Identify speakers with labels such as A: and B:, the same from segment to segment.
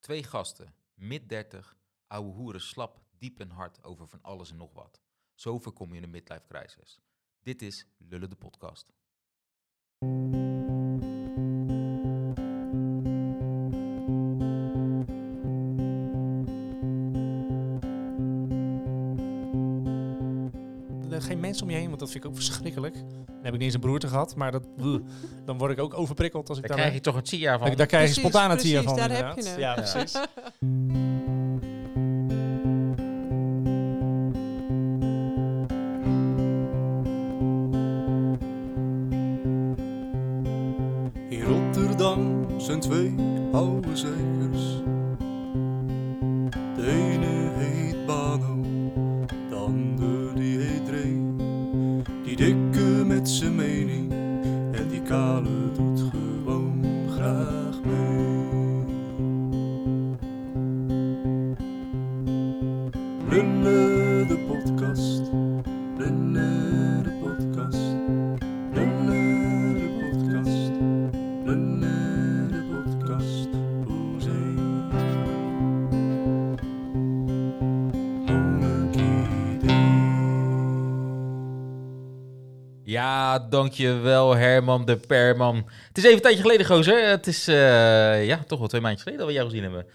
A: Twee gasten, mid 30, ouwe hoeren slap, diep en hard over van alles en nog wat. Zo voorkom je een midlife crisis. Dit is Lullen de podcast.
B: Er geen mensen om je heen, want dat vind ik ook verschrikkelijk. Dan heb ik niet eens een broerte gehad, maar dat, dan word ik ook overprikkeld als ik
C: Daar krijg je toch een TIA van.
B: daar, daar krijg je
D: Precies,
B: spontaan het
D: precies,
B: hiervan.
D: daar heb
B: inderdaad.
D: je hem.
B: Ja, precies.
E: In Rotterdam zijn twee oude zeikers. De ene heet Bano, de ander die heet Ray. Die dikke met zijn mening en die kale doet gewoon graag mee. Lullen de podcast, lullen de podcast, lullen de podcast. Lullen de podcast. Hoezee. Monkey
A: Ja, dankjewel Herman de Perman. Het is even een tijdje geleden, gozer. Het is eh, ja, toch wel twee maandjes geleden dat we jou gezien hebben.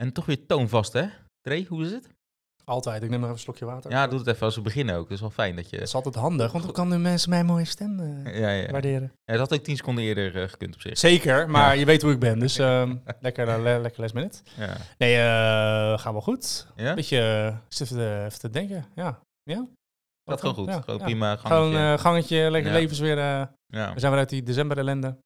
A: En toch weer toonvast, hè? Dre, hoe is het?
B: Altijd, ik neem nog even een slokje water.
A: Ja, doe het even als we beginnen ook. Dat is wel fijn dat
B: Dat
A: je...
B: is altijd handig, want dan kan de mensen mijn mooie stem eh,
A: Ja, ja.
B: waarderen.
A: Het had ook tien seconden eerder eh, gekund op zich.
B: Zeker, maar je weet hoe ik ben, dus ehm, lekker, eh, le- lekker last minute.
A: Ja.
B: Nee, eh gaan wel goed.
A: ja?
B: Beetje, eh, ik zit even te- even te denken, ja. ja?
A: Dat gewoon goed.
B: Ja,
A: Gewoon
B: ja.
A: prima.
B: Gewoon
A: Gangetje.
B: eh gangetje, lekker
A: Ja.
B: levens weer. eh,
A: ja.
B: we zijn weer uit die december ellende.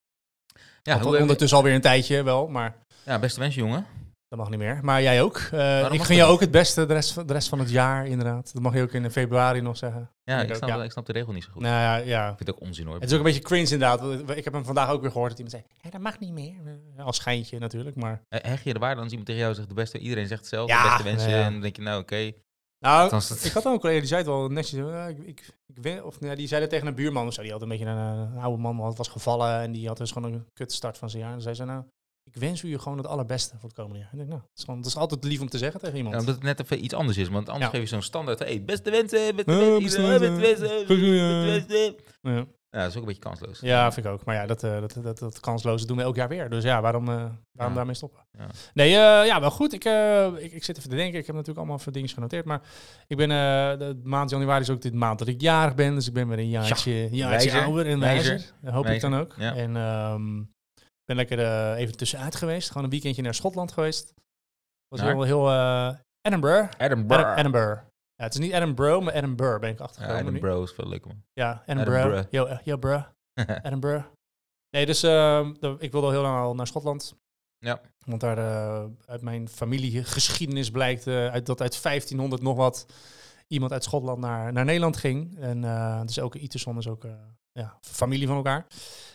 A: Ja, hoe-
B: Ja, ondertussen alweer een tijdje wel, maar
A: ja, beste wens, jongen.
B: dat mag niet meer. Maar jij ook. Eh,
A: mag
B: ik
A: dat
B: gun jou
A: niet?
B: ook het beste de rest, van- de rest van het jaar, inderdaad. Dat mag je ook in eh, februari nog zeggen.
A: Ja,
B: Ik
A: ik
B: ook,
A: snap,
B: ja.
A: ik snap de regel niet zo goed.
B: Nou ja, ja.
A: Ik vind het ook onzin hoor.
B: Het is ook een beetje cringe inderdaad. want eh, Ik heb hem vandaag ook weer gehoord dat iemand zei, "Hé, dat mag niet meer. Eh, Als schijntje natuurlijk, maar...
A: Eh, Hecht je de waarde als iemand tegen jou zegt de beste, iedereen zegt hetzelfde,
B: Ja,
A: de beste wensen.
B: nou ja.
A: En dan denk je, nou oké.
B: Nou,
A: Althans, dat-
B: ik had ook een collega die zei het wel netjes. eh, ik, ik, ik weet- of, nou ja, die zei dat tegen een buurman of zo. Die had een beetje een, eh, een oude man, want was gevallen. En die had dus gewoon een kut start van zijn jaar. En zei ze, nou, ik wens u je gewoon het allerbeste voor het komende jaar. En ik denk, nou, dat is, gewoon, dat is altijd lief om te zeggen tegen iemand.
A: Ja, omdat het net even iets anders is. Want anders
B: Ja.
A: geef je zo'n standaard. Hey, beste wensen, beste
B: Ja,
A: wensen,
B: beste
A: iedereen,
B: wensen.
A: beste wensen,
B: Goed,
A: beste
B: eh.
A: wensen.
B: Ja.
A: Ja, dat is ook een beetje kansloos.
B: Ja, vind ik ook. Maar ja, dat, eh, dat, dat, dat kansloze doen we elk jaar weer. Dus ja, waarom, eh, waarom
A: Ja.
B: daarmee stoppen?
A: Ja.
B: Nee, eh, ja, wel goed. Ik, eh, ik, ik zit even te denken. Ik heb natuurlijk allemaal veel dingen genoteerd. Maar ik ben, eh, de maand januari is ook dit maand dat ik jarig ben. Dus ik ben weer een jaartje, jaartje
A: wijzer,
B: ouder en
A: wijzer,
B: wijzer. Dat hoop
A: wijzer,
B: ik dan ook.
A: ja.
B: En ehm, ik ben lekker eh, even tussenuit geweest. Gewoon een weekendje naar Schotland geweest. was
A: Naar?
B: heel, heel eh, Edinburgh.
A: Edinburgh.
B: Edinburgh. Edinburgh. Ja, het is niet Edinburgh, maar Edinburgh ben ik
A: Ja,
B: achtergekomen nu.
A: Edinburgh is veel leuker man.
B: Ja, Edinburgh.
A: Edinburgh.
B: Yo, eh, yo, bruh. Edinburgh. Nee, dus ehm, de- ik wilde al heel lang al naar Schotland.
A: Ja.
B: Want daar eh, uit mijn familiegeschiedenis blijkt eh, uit, dat uit 1500 nog wat iemand uit Schotland naar, naar Nederland ging. En eh, dus elke Iterson is ook eh, ja, familie van elkaar.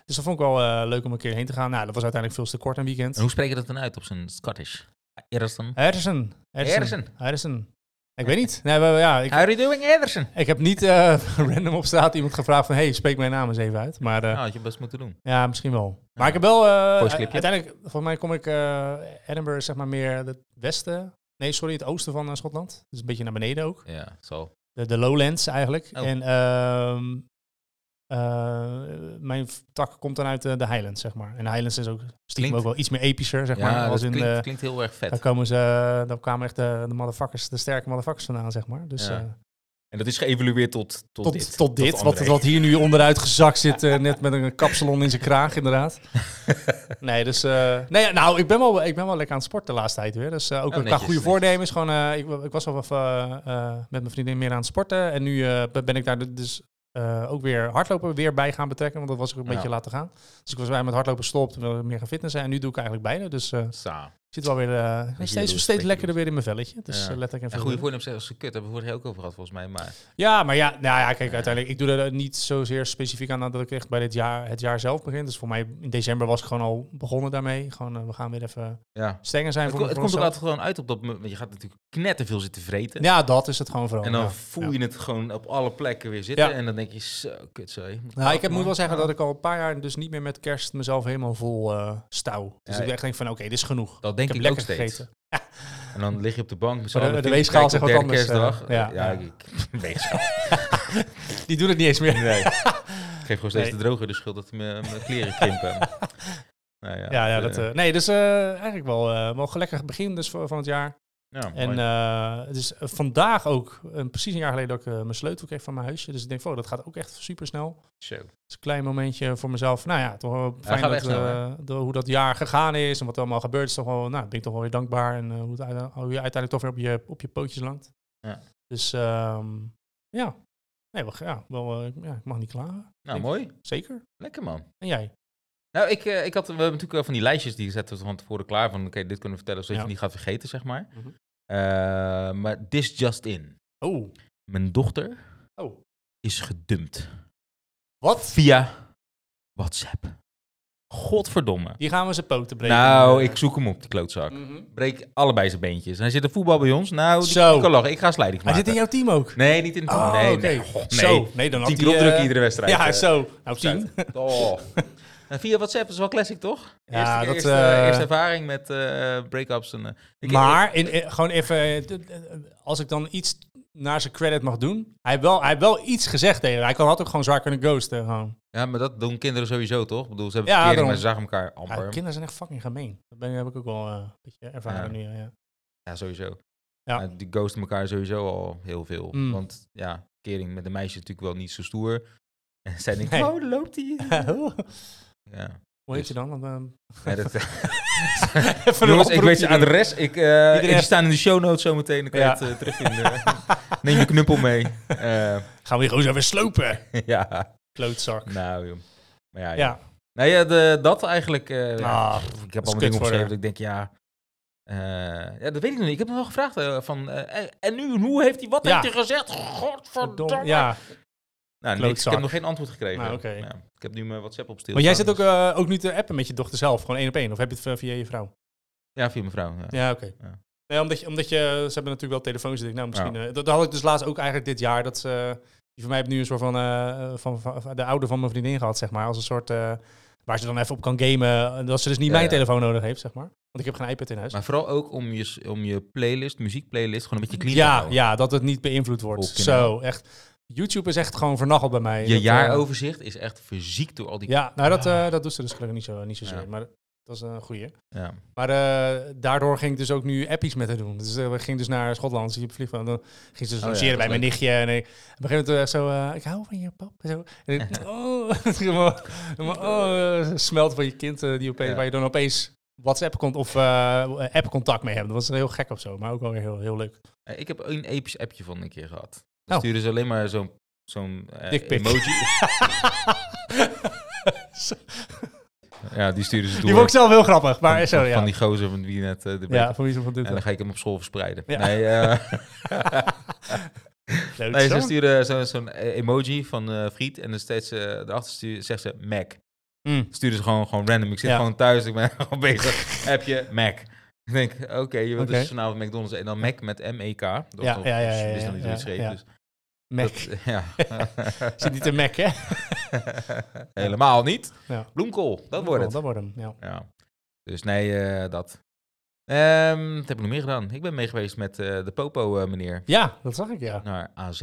B: Dus dat vond ik wel eh, leuk om een keer heen te gaan. Nou, dat was uiteindelijk veel te kort een weekend.
A: en hoe spreek je dat dan uit op zijn Scottish? Ederson.
B: Harrison.
A: Harrison.
B: Harrison. Ik weet niet. Nee, we- ja, ik,
A: How are you doing, Ederson?
B: ik heb niet eh, random op straat iemand gevraagd van... hey, spreek mijn naam eens even uit. Maar eh,
A: Nou, had je best moeten doen.
B: Ja, misschien wel. Maar ik heb wel... eh,
A: Voiceclipje.
B: uiteindelijk, volgens mij kom ik... eh Edinburgh is zeg maar meer het westen... Nee, sorry, het oosten van eh, Schotland. Dus een beetje naar beneden ook.
A: Ja, zo.
B: De, de lowlands eigenlijk.
A: Oh.
B: En ehm, eh, mijn v- tak komt dan uit eh, de Highlands, zeg maar. En de Highlands is ook stiekem
A: Klinkt-
B: ook wel iets meer epischer, zeg
A: Ja,
B: maar.
A: dat
B: Als in,
A: klinkt,
B: eh,
A: klinkt heel erg vet.
B: daar, komen ze, daar kwamen echt eh, de, de motherfuckers, de sterke motherfuckers vandaan, zeg maar. Dus
A: Ja.
B: eh,
A: En dat is geëvolueerd tot, tot,
B: tot,
A: dit.
B: tot dit, wat,
A: André.
B: wat hier nu onderuit gezakt zit, eh, net met een kapsalon in zijn kraag inderdaad. nee, dus, eh, nee, ja, nou, ik ben, wel, ik ben wel lekker aan het sporten de laatste tijd weer. Dus eh, ook
A: Ja,
B: qua
A: Oh, netjes,
B: goede
A: netjes.
B: voornemens, gewoon, eh, ik, ik was al wat, eh, eh, met mijn vriendin meer aan het sporten. En nu eh, ben ik daar dus eh, ook weer hardlopen weer bij gaan betrekken, want dat was ook een
A: Ja.
B: beetje laten gaan. Dus ik was bij met hardlopen gestopt, wilde meer gaan fitnessen. En nu doe ik eigenlijk beide, dus eh, ik
A: Sa.
B: zit wel weer eh, steeds,
A: doet,
B: steeds
A: wat je
B: lekkerder weer in mijn velletje. Dus
A: Ja.
B: eh, let ik
A: En
B: even
A: goede
B: op.
A: voornemens zeggen ze kut. Hebben we vorig jaar ook over gehad, volgens mij. Maar
B: Ja, maar ja, nou ja, kijk, uiteindelijk, ik doe er niet zozeer specifiek aan dat ik echt bij dit jaar, het jaar zelf begin. Dus voor mij in december was ik gewoon al begonnen daarmee. Gewoon, eh, we gaan weer even
A: ja.
B: strenger zijn
A: Het,
B: voor
A: ko- het
B: voor
A: komt ook
B: onszelf.
A: altijd gewoon uit op dat... moment, Want je gaat natuurlijk knetterveel zitten vreten.
B: Ja, dat is het gewoon vooral.
A: En dan
B: ja.
A: voel je het gewoon op alle plekken weer zitten.
B: Ja.
A: En dan denk je, zo, kut zo. je moet
B: Nou, ik
A: kappen,
B: heb, moet
A: man.
B: wel zeggen dat ik al een paar jaar dus niet meer met kerst mezelf helemaal vol eh, stouw. Dus
A: Ja,
B: ik echt denk van, oké, dit is genoeg.
A: Dat denk
B: ik
A: ik,
B: heb
A: ook
B: lekker
A: steeds.
B: gegeten.
A: En dan lig je op de bank met z'n
B: Maar de-
A: allen
B: de
A: film te
B: weegschaal
A: kijken op
B: zegt wat
A: derde
B: anders,
A: Kerstdag.
B: eh, ja.
A: ja, ik- weegschaal.
B: Die doen het niet eens meer.
A: Nee. ik geef gewoon steeds
B: Nee.
A: de droger de schuld dat hij mijn mijn kleren krimpen. nou ja,
B: Ja, ja,
A: eh,
B: dat, eh, nee, dus eh, eigenlijk wel, eh wel een lekker begin dus van, van het jaar.
A: ja,
B: En
A: mooi.
B: eh, het is vandaag ook, eh, precies een jaar geleden, dat ik eh, mijn sleutel kreeg van mijn huisje. Dus ik denk, van, oh, dat gaat ook echt super snel.
A: Zo.
B: Dus een klein momentje voor mezelf. Nou ja, toch wel fijn
A: gaat
B: dat,
A: echt snel,
B: eh, de- hoe dat jaar gegaan is en wat er allemaal gebeurd is. Toch wel, nou, ben ik toch wel weer dankbaar. En eh, hoe, het uite- hoe je uiteindelijk toch weer op je, op je pootjes landt.
A: Ja.
B: Dus ehm, ja. Nee, wel, ja, wel eh, ja, ik mag niet klagen.
A: Nou,
B: ik-
A: mooi.
B: Zeker.
A: Lekker man.
B: En jij?
A: Nou, ik, eh, ik had, we hebben natuurlijk eh, van die lijstjes die zetten we van tevoren klaar. Van oké, dit kunnen we vertellen, zodat
B: Ja.
A: je niet gaat vergeten, zeg maar.
B: Mhm.
A: Eh, maar this just in.
B: Oh.
A: Mijn dochter
B: Oh.
A: is gedumpt.
B: Wat?
A: Via WhatsApp. Godverdomme.
B: Die gaan we zijn poten breken.
A: nou,
B: Eh,
A: ik zoek hem op, die klootzak.
B: mhm.
A: Breek allebei zijn beentjes. Hij zit een voetbal bij ons. Nou, die
B: Zo.
A: kan lachen. Ik ga slijding
B: Hij
A: maken.
B: zit in jouw team ook?
A: Nee, niet in het
B: Oh,
A: nee,
B: oké.
A: nee. God, nee.
B: Zo. Nee, dan had
A: Tien
B: hij...
A: keer opdrukken
B: eh,
A: iedere wedstrijd.
B: Ja,
A: eh,
B: zo. Nou,
A: opzij.
B: zien.
A: Oh. Nou, Via WhatsApp is wel classic, toch?
B: Ja,
A: eerste,
B: dat,
A: eerste,
B: eh,
A: eerste ervaring met eh, break-ups. En, eh, ik-
B: Maar in, in- gewoon even, eh, d- d- als ik dan iets naar zijn credit mag doen. Hij heeft wel, hij heeft wel iets gezegd tegen. haar. Hij kan, had ook gewoon zwaar kunnen ghosten. Gewoon.
A: ja, maar dat doen kinderen sowieso, toch? Ik bedoel, ze hebben
B: Ja,
A: verkering,
B: daarom.
A: maar ze zagen elkaar
B: Ja,
A: amper. Ja,
B: kinderen zijn echt fucking gemeen. Dat ben, heb ik ook wel eh, een beetje ervaren nu. Ja.
A: sowieso.
B: Ja.
A: Maar die ghosten elkaar sowieso al heel veel.
B: Mm.
A: Want ja, kering met de meisjes is natuurlijk wel niet zo stoer. En zij denkt,
B: Nee.
A: oh, daar loopt hij. Ja.
B: Hoe heet je dan? Want, ehm,
A: Ja, dat,
B: Even een
A: Jongens, ik
B: oproepje
A: weet je
B: doen.
A: adres. Ik, eh,
B: Iedereen
A: die
B: heeft-
A: staan in de show notes zometeen. Dan kan
B: Ja.
A: je het eh, terugvinden. Neem je knuppel mee. Eh,
B: Gaan we hier gewoon zo even slopen?
A: ja,
B: Klootzak.
A: nou joh. Maar ja, ja.
B: Ja.
A: Nou ja, de, dat eigenlijk. eh, ja,
B: Ah,
A: pff, ik heb
B: dat
A: allemaal
B: is kut
A: dingen
B: voor haar.
A: opgeschreven. dat Ik denk, ja, eh, ja, dat weet ik nog niet. Ik heb hem wel gevraagd eh, van, eh, en- en nu, hoe heeft hij, wat
B: Ja.
A: heeft hij gezegd? Godverdomme.
B: verdomme. Ja.
A: Nou, niks. Ik
B: Klootzak.
A: heb nog geen antwoord gekregen.
B: Nou, oké.
A: Ja, ik heb nu mijn WhatsApp op stil.
B: Maar jij zit
A: staan,
B: ook, eh, ook nu te appen met je dochter zelf. Gewoon één op één. Of heb je het via- via je vrouw?
A: dus- Ja, via mijn vrouw. Ja.
B: Ja, oké.
A: Ja.
B: Nee, omdat, je, omdat je, ze hebben natuurlijk wel telefoons. Ik denk, nou, misschien.
A: Ja.
B: eh, dat, dat had ik dus laatst ook eigenlijk dit jaar. Dat ze, eh, die van mij heeft nu een soort van, eh, van, van- van de oude van mijn vriendin gehad, zeg maar. Als een soort eh, waar ze dan even op kan gamen. En Dat ze dus niet
A: Ja,
B: mijn
A: ja.
B: telefoon nodig heeft, zeg maar. Want ik heb geen iPad in huis.
A: Maar vooral ook om je, s- om je playlist, muziekplaylist, gewoon een beetje clean te
B: ja,
A: houden.
B: ja, dat het niet beïnvloed wordt.
A: Fucking
B: Zo, echt. YouTube is echt gewoon vernacheld bij mij.
A: Je
B: Dat, eh,
A: jaaroverzicht is echt verziekt door al die...
B: Ja, nou dat, eh, dat doet ze dus gelukkig niet, zo, niet zozeer.
A: Ja.
B: Maar dat is een goeie.
A: Ja.
B: Maar eh, daardoor ging ik dus ook nu appies met haar doen. Dus eh, we gingen dus naar Schotland, zie je op het vliegveld. En Dan ging ze dus
A: Oh ja,
B: logeren
A: dat
B: bij
A: is
B: mijn
A: leuk.
B: nichtje. En ik, op een gegeven moment eh, zo, eh, ik hou van je pap. En, zo. en ik, oh, het ging helemaal- helemaal, oh, eh, smelt van je kind eh, die opeens,
A: Ja.
B: waar je dan opeens WhatsApp komt of eh app-contact mee hebt. Dat was heel gek of zo, maar ook wel weer heel, heel leuk.
A: Eh, Ik heb een episch appje van een keer gehad. Dan
B: Oh.
A: sturen ze alleen maar zo'n zo'n eh,
B: Dickpic.
A: emoji. ja, die sturen ze door.
B: Die vond ik zelf heel grappig, maar
A: van,
B: zo
A: van
B: ja.
A: die gozer van wie net eh, de
B: ja,
A: break-
B: voor wie ze van doet.
A: En dan ga ik hem op school verspreiden.
B: Ja.
A: Nee, eh,
B: Leuk
A: nee,
B: zo.
A: ze sturen zo- zo'n eh, emoji van eh friet. En dan steeds eh erachter sturen, zegt ze Mac.
B: Mm.
A: Sturen ze gewoon, gewoon random. Ik zit
B: Ja.
A: gewoon thuis, ik ben gewoon bezig. Heb je Mac? Ik denk, oké, je wilt
B: Oké.
A: dus vanavond McDonald's en dan Mac met E M-E-K. Ja,
B: Ja, ja, ja, ja,
A: is
B: ja,
A: nog niet hoe je
B: ja,
A: het schreef,
B: ja.
A: dus
B: Mac.
A: dat- ja.
B: Zit niet te Mac, hè?
A: Helemaal niet.
B: Ja.
A: Bloemkool, dat wordt het.
B: Oh, Dat wordt hem, ja.
A: Ja. Dus nee, eh, dat. Ehm, wat heb ik nog meer gedaan? Ik ben meegeweest met eh, de Popo-meneer
B: Ja, dat zag ik, ja.
A: naar AZ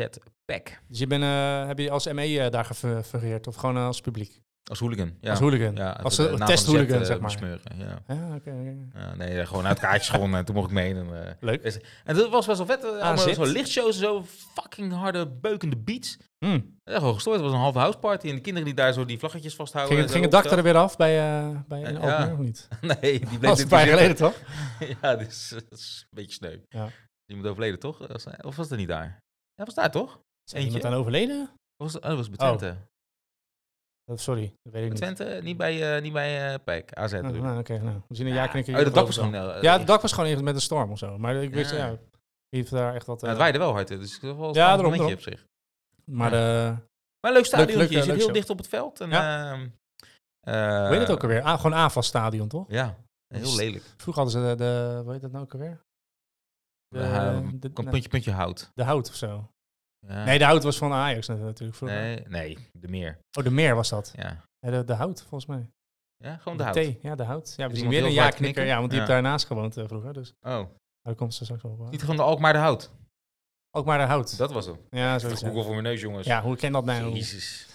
A: Pack
B: Dus je bent, eh, heb je als ME eh, daar gefungeerd of gewoon eh, als publiek?
A: als hooligan. Ja.
B: Als hooligan?
A: Ja,
B: als
A: de
B: een
A: naam van
B: testhooligan,
A: de Z, eh,
B: zeg maar.
A: besmeuren, ja.
B: Ja, oké, oké.
A: Ja, nee, eh, gewoon uit het kaartje gewonnen en toen mocht ik mee. En, eh,
B: Leuk.
A: en dat was best wel vet. eh, allemaal
B: zit.
A: Zo'n lichtshows, zo fucking harde, beukende beats.
B: Hmm.
A: Ja, gewoon gestoord. Het was een halve houseparty en de kinderen die daar zo die vlaggetjes vasthouden.
B: Ging,
A: en
B: het,
A: zo
B: ging het dak
A: opstel-
B: er weer af bij, eh bij
A: Ja.
B: een opener of niet?
A: Nee, die bleef
B: Dat was
A: dit
B: een paar jaar
A: keer
B: geleden, toch?
A: zitten. ja, dat is, dat is een beetje sneu.
B: Ja.
A: Iemand overleden, toch? Was- Of was dat niet daar? Hij was daar, toch?
B: Is er iemand aan overleden?
A: Of was, oh, dat was bij
B: Oh,
A: Twente.
B: Oh, sorry, dat weet ik
A: Bij
B: niet.
A: Twente, niet bij, eh niet bij eh Pijk. AZ
B: Nou,
A: natuurlijk.
B: nou, oké, nou. We zien een jaar knikken.
A: Oh, dat dak was
B: hierover
A: gewoon...
B: wel.
A: eh,
B: Ja,
A: eh,
B: het dak was gewoon even met een storm of zo. Maar ik wist,
A: Ja.
B: ja, heeft daar echt wat...
A: nou,
B: eh,
A: het waaide wel hard, hè, dus het was wel een
B: Ja,
A: ja,
B: daarom,
A: momentje op zich.
B: maar eh
A: Maar een leuk
B: Leuk-
A: stadion.
B: leuk,
A: je
B: eh,
A: zit
B: leuk
A: heel
B: zo.
A: dicht op het veld. En,
B: Ja.
A: ehm, eh,
B: hoe heet het ook alweer? Ah, gewoon AFAS stadion, toch?
A: Ja, heel
B: Dus-
A: lelijk.
B: Vroeger hadden ze de, de... Hoe heet dat nou ook alweer? De,
A: Ja,
B: de-
A: kan
B: nou,
A: puntje, puntje hout.
B: de hout of zo.
A: Ja.
B: Nee, de hout was van Ajax natuurlijk. vroeger.
A: nee, nee, de meer.
B: Oh, de meer was dat.
A: Ja.
B: Ja, de, de hout, volgens mij.
A: Ja, gewoon de hout.
B: Thee, ja, de hout. Ja, we
A: Is iemand
B: zien weer
A: heel
B: een
A: vaak
B: ja-knikker.
A: knikken?
B: Ja, want die
A: Ja.
B: heeft daarnaast gewoond eh, vroeger. Dus
A: Oh,
B: daar komt ze straks wel op.
A: niet gewoon de Alkmaar de hout.
B: Ook maar de hout.
A: Dat was hem.
B: ja, zo is het.
A: Google voor mijn neus, jongens.
B: Ja, hoe ken dat nou?
A: Jezus.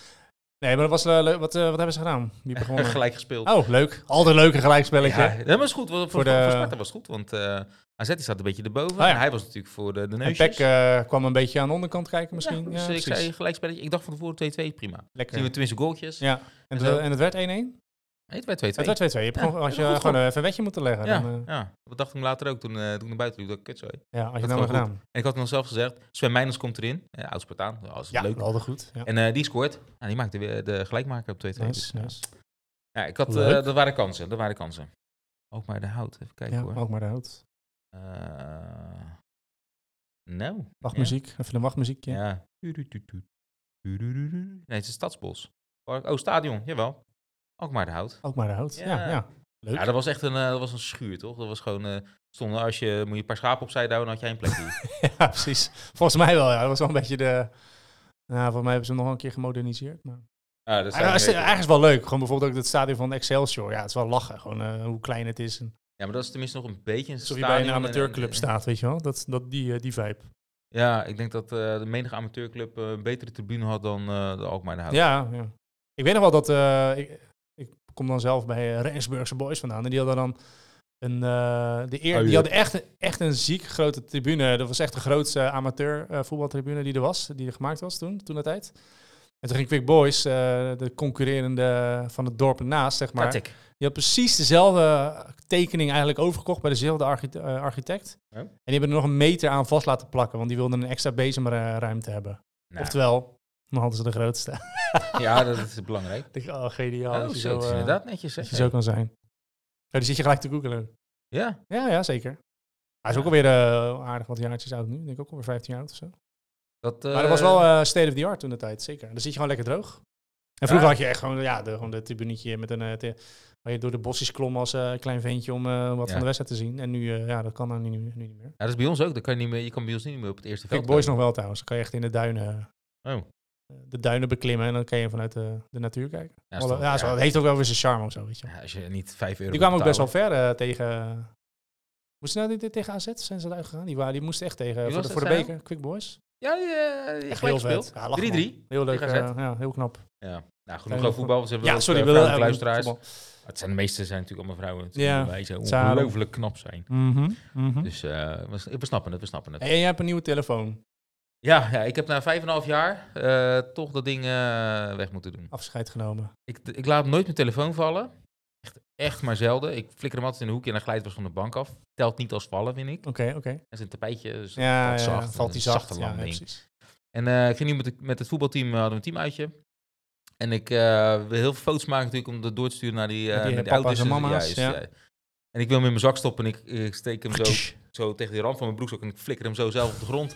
B: Nee, maar dat was eh, leuk. Wat, eh, wat hebben ze gedaan? Wie begonnen?
A: Gelijk gespeeld.
B: Oh, leuk. Al de leuke gelijkspelletje.
A: Ja, dat was goed. Voor, voor,
B: de- Oh
A: voor Sparta was het goed, want eh AZ die staat een beetje erboven.
B: ja.
A: En hij was natuurlijk voor de, de
B: en
A: neusjes.
B: Peck eh, kwam een beetje aan de onderkant kijken
A: Ja,
B: misschien. Ja,
A: dus ik
B: precies.
A: zei gelijkspelletje. Ik dacht van tevoren 2-2, prima. Zien we
B: Lekker.
A: tenminste goaltjes.
B: Ja. En,
A: en zo.
B: het- en het werd 1-1?
A: Nee, het werd 2-2.
B: Het werd 2-2. Je hebt
A: Ja,
B: gewoon, als je
A: dat is goed
B: gewoon eh, even een wetje moeten leggen.
A: Ja,
B: Dan, eh,
A: ja, dat dacht ik me later ook toen, eh, toen ik naar buiten liep. Dat ik, kut, sorry.
B: ja,
A: dat
B: als je dat
A: is
B: maar
A: gewoon
B: gedaan.
A: En ik had nog zelf gezegd, Sven Meijners komt erin. eh oud Spartaan, dat is
B: Ja,
A: leuk.
B: wel goed. Ja.
A: En eh, die scoort. En die maakte weer de gelijkmaker op 2-2. Dus,
B: Nice,
A: ja.
B: nice.
A: Ja, ik had,
B: Leuk.
A: eh, dat waren kansen. Dat waren kansen. Ook maar de hout. Even kijken
B: Ja,
A: hoor.
B: ook maar de hout.
A: Eh, nou.
B: Wachtmuziek. Even een wachtmuziekje.
A: Ja. ja. Nee, het is Stadsbos. Park- Oh, stadion. Jawel. Ook maar de hout.
B: Ook maar de hout. Ja,
A: Ja.
B: ja. Leuk.
A: Ja, dat was echt een, eh, dat was een schuur, toch? Dat was gewoon, eh, stonden als je, moet je een paar schapen opzij duwen, dan had jij een plekje.
B: Ja, precies. Volgens mij wel, ja. Dat was wel een beetje de... Nou, volgens mij hebben ze hem nog wel een keer gemoderniseerd. Maar...
A: ah, dat zou
B: Ja,
A: je
B: dat is
A: weten.
B: eigenlijk is wel leuk. Gewoon bijvoorbeeld ook het stadion van Excelsior. Ja, het is wel lachen. Gewoon eh, hoe klein het is. En
A: ja, maar dat is tenminste nog een beetje een
B: alsof je
A: stadion. eh,
B: bij een
A: en- en-
B: amateurclub
A: en-
B: staat, weet je wel. Dat, dat, die, eh, die vibe.
A: Ja, ik denk dat eh, de menige amateurclub eh, een betere tribune had dan eh, de Alkmaar de Hout.
B: Ja, ja. Ik weet nog wel dat... eh, ik, ik kom dan zelf bij eh, Rensburgse Boys vandaan. En die hadden dan een... eh, de eer,
A: Oh,
B: die
A: ja.
B: hadden echt, echt een ziek grote tribune. Dat was echt de grootste amateur eh, voetbaltribune die er was. Die er gemaakt was toen, toen de tijd. En toen ging Quick Boys, eh, de concurrerende van het dorp ernaast, zeg maar...
A: Katik.
B: Die had precies dezelfde tekening eigenlijk overgekocht bij dezelfde archite- eh, architect.
A: Ja.
B: En die hebben er nog een meter aan vast laten plakken, want die wilden een extra bezemruimte hebben.
A: Nou,
B: Oftewel, dan hadden ze de grootste. Ik
A: ja, dat is belangrijk.
B: dacht, oh, geniaal.
A: oh,
B: dat je
A: zo, het is
B: eh,
A: inderdaad netjes. Hè?
B: dat je zo kan zijn. Ja, die zit je gelijk te googelen.
A: Ja,
B: Ja, ja, zeker. Hij is
A: Ja.
B: ook alweer eh, aardig wat jaartjes oud nu. Ik denk ook alweer 15 jaar oud of zo.
A: dat,
B: maar dat was wel eh, state of the art toen de tijd, zeker. Dan zit je gewoon lekker droog. En vroeger
A: Ja.
B: had je echt gewoon, ja, de, gewoon de tribunetje met een... eh, te- waar je door de bosjes klom als eh, klein ventje om eh, wat
A: Ja.
B: van de wedstrijd te zien. En nu, eh, ja, dat kan dan nu, nu niet meer.
A: ja, dat is bij ons ook. Dat kan je, niet meer, je kan bij ons niet meer op het eerste
B: Kijk,
A: veld.
B: boys nog wel trouwens. Dan kan je echt in de duinen,
A: Oh, ja,
B: eh, de duinen beklimmen en dan kan je vanuit de, de natuur kijken.
A: dat is
B: Alle-
A: toch-
B: ja,
A: ja.
B: zo, het heeft ook wel weer zijn charme of zo, weet je. wel.
A: Ja, als je niet 5 euro
B: die kwamen ook best wel
A: betalen.
B: ver eh, tegen... Moesten ze nou dit- dit tegen AZ? Zijn ze eruit gegaan? Die, waren, die moesten echt tegen,
A: was
B: voor de,
A: dat,
B: voor de
A: zei je?
B: beker, Quick Boys.
A: Ja, ja, ja,
B: Echt
A: gelijk
B: heel vet.
A: gespeeld.
B: Ja, lachen,
A: 3-3.
B: Heel leuk,
A: Tegen
B: eh,
A: AZ.
B: ja, heel knap.
A: Ja, nou, genoeg
B: Zijn
A: over
B: we-
A: voetbal. want ze hebben
B: Ja,
A: wat,
B: sorry,
A: eh,
B: we willen
A: vrouwelijke luisteraars.
B: voetbal.
A: Het zijn de meeste zijn natuurlijk allemaal vrouwen. Het
B: Ja.
A: ja. Wij zo
B: Daarom.
A: ongelooflijk knap zijn.
B: Mhm, mhm.
A: Dus eh, we, we snappen het, we snappen het.
B: En jij hebt een nieuwe telefoon.
A: Ja, ja ik heb na 5,5 jaar eh, toch dat ding eh, weg moeten doen.
B: Afscheid genomen.
A: Ik, ik laat nooit mijn telefoon vallen. Echt, echt maar zelden. Ik flikker hem altijd in de hoek en dan glijdt het wel van de bank af. Telt niet als vallen, vind ik.
B: Oké, oké.
A: Dat is een tapijtje. Dus dat
B: Ja,
A: valt
B: ja,
A: zacht,
B: valt die
A: een
B: zacht.
A: zachte
B: Ja,
A: landing.
B: ja, precies.
A: En eh, ik ging nu met, de- met het voetbalteam, eh, hadden we een teamuitje. En ik eh, wil heel veel foto's maken natuurlijk om dat door te sturen naar die, eh
B: Naar die
A: naar de
B: papa's
A: ouders.
B: en mama's,
A: juist,
B: ja.
A: eh, En ik wil hem in mijn zak stoppen en ik, ik steek hem zo, zo tegen de rand van mijn broekzak en ik flikker hem zo zelf op de grond.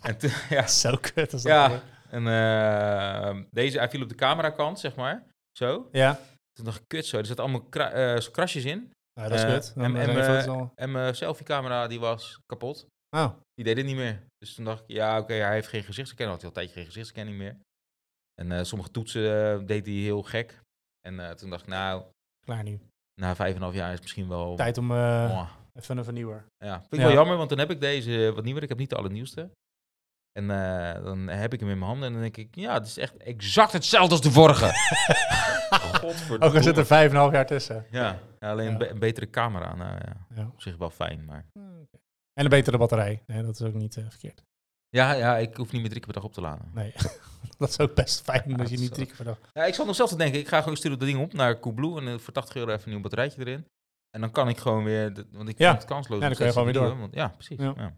A: en toen- ja,
B: Zo kut als dat.
A: Ja.
B: hoor.
A: en eh, deze, hij viel op de camerakant, zeg maar. Zo.
B: ja.
A: Toen dacht ik, kut zo, er zaten allemaal kra- eh, zo krasjes in.
B: Nou, dat is
A: Eh,
B: kut. Dan
A: en-
B: zijn
A: en,
B: die
A: eh,
B: foto's al-
A: En mijn selfiecamera, die was kapot.
B: Oh,
A: Die deed het niet meer. Dus toen dacht ik, ja, oké, hij heeft geen gezichtsherkenning. Had hij al een tijdje geen gezichtsherkenning meer. En eh, sommige toetsen eh, deed hij heel gek. En eh, toen dacht ik, nou,
B: klaar nu.
A: na vijf en een half jaar is het misschien wel...
B: Tijd om eh,
A: Oh,
B: even een vernieuwer.
A: ja, vind ik
B: Ja.
A: wel jammer, want dan heb ik deze eh, wat nieuwer. Ik heb niet de allernieuwste. En eh, dan heb ik hem in mijn handen en dan denk ik, ja, het is echt exact hetzelfde als de vorige. Godverdomme.
B: Ook al zit er vijf en een half jaar tussen.
A: Ja, ja, alleen
B: Ja.
A: Een, be- een betere camera. Nou ja,
B: Ja.
A: op zich wel fijn, maar...
B: Hmm. En een betere batterij. Nee, dat is ook niet eh, verkeerd.
A: Ja, ja, ik hoef niet meer drie keer per dag op te laden.
B: Nee. dat is ook best fijn
A: Ja,
B: dat je
A: dat
B: niet
A: is
B: drie keer per dag...
A: Ja, ik zat nog zelf te denken, ik ga gewoon sturen dat ding op naar Coolblue en eh, voor 80 euro even een nieuw batterijtje erin. En dan kan ik gewoon weer, de- want ik
B: Ja.
A: vind het kansloos.
B: Ja,
A: om
B: dan kun je
A: steeds
B: gewoon
A: te
B: weer
A: doen, Want, ja, precies.
B: Ja.
A: Ja.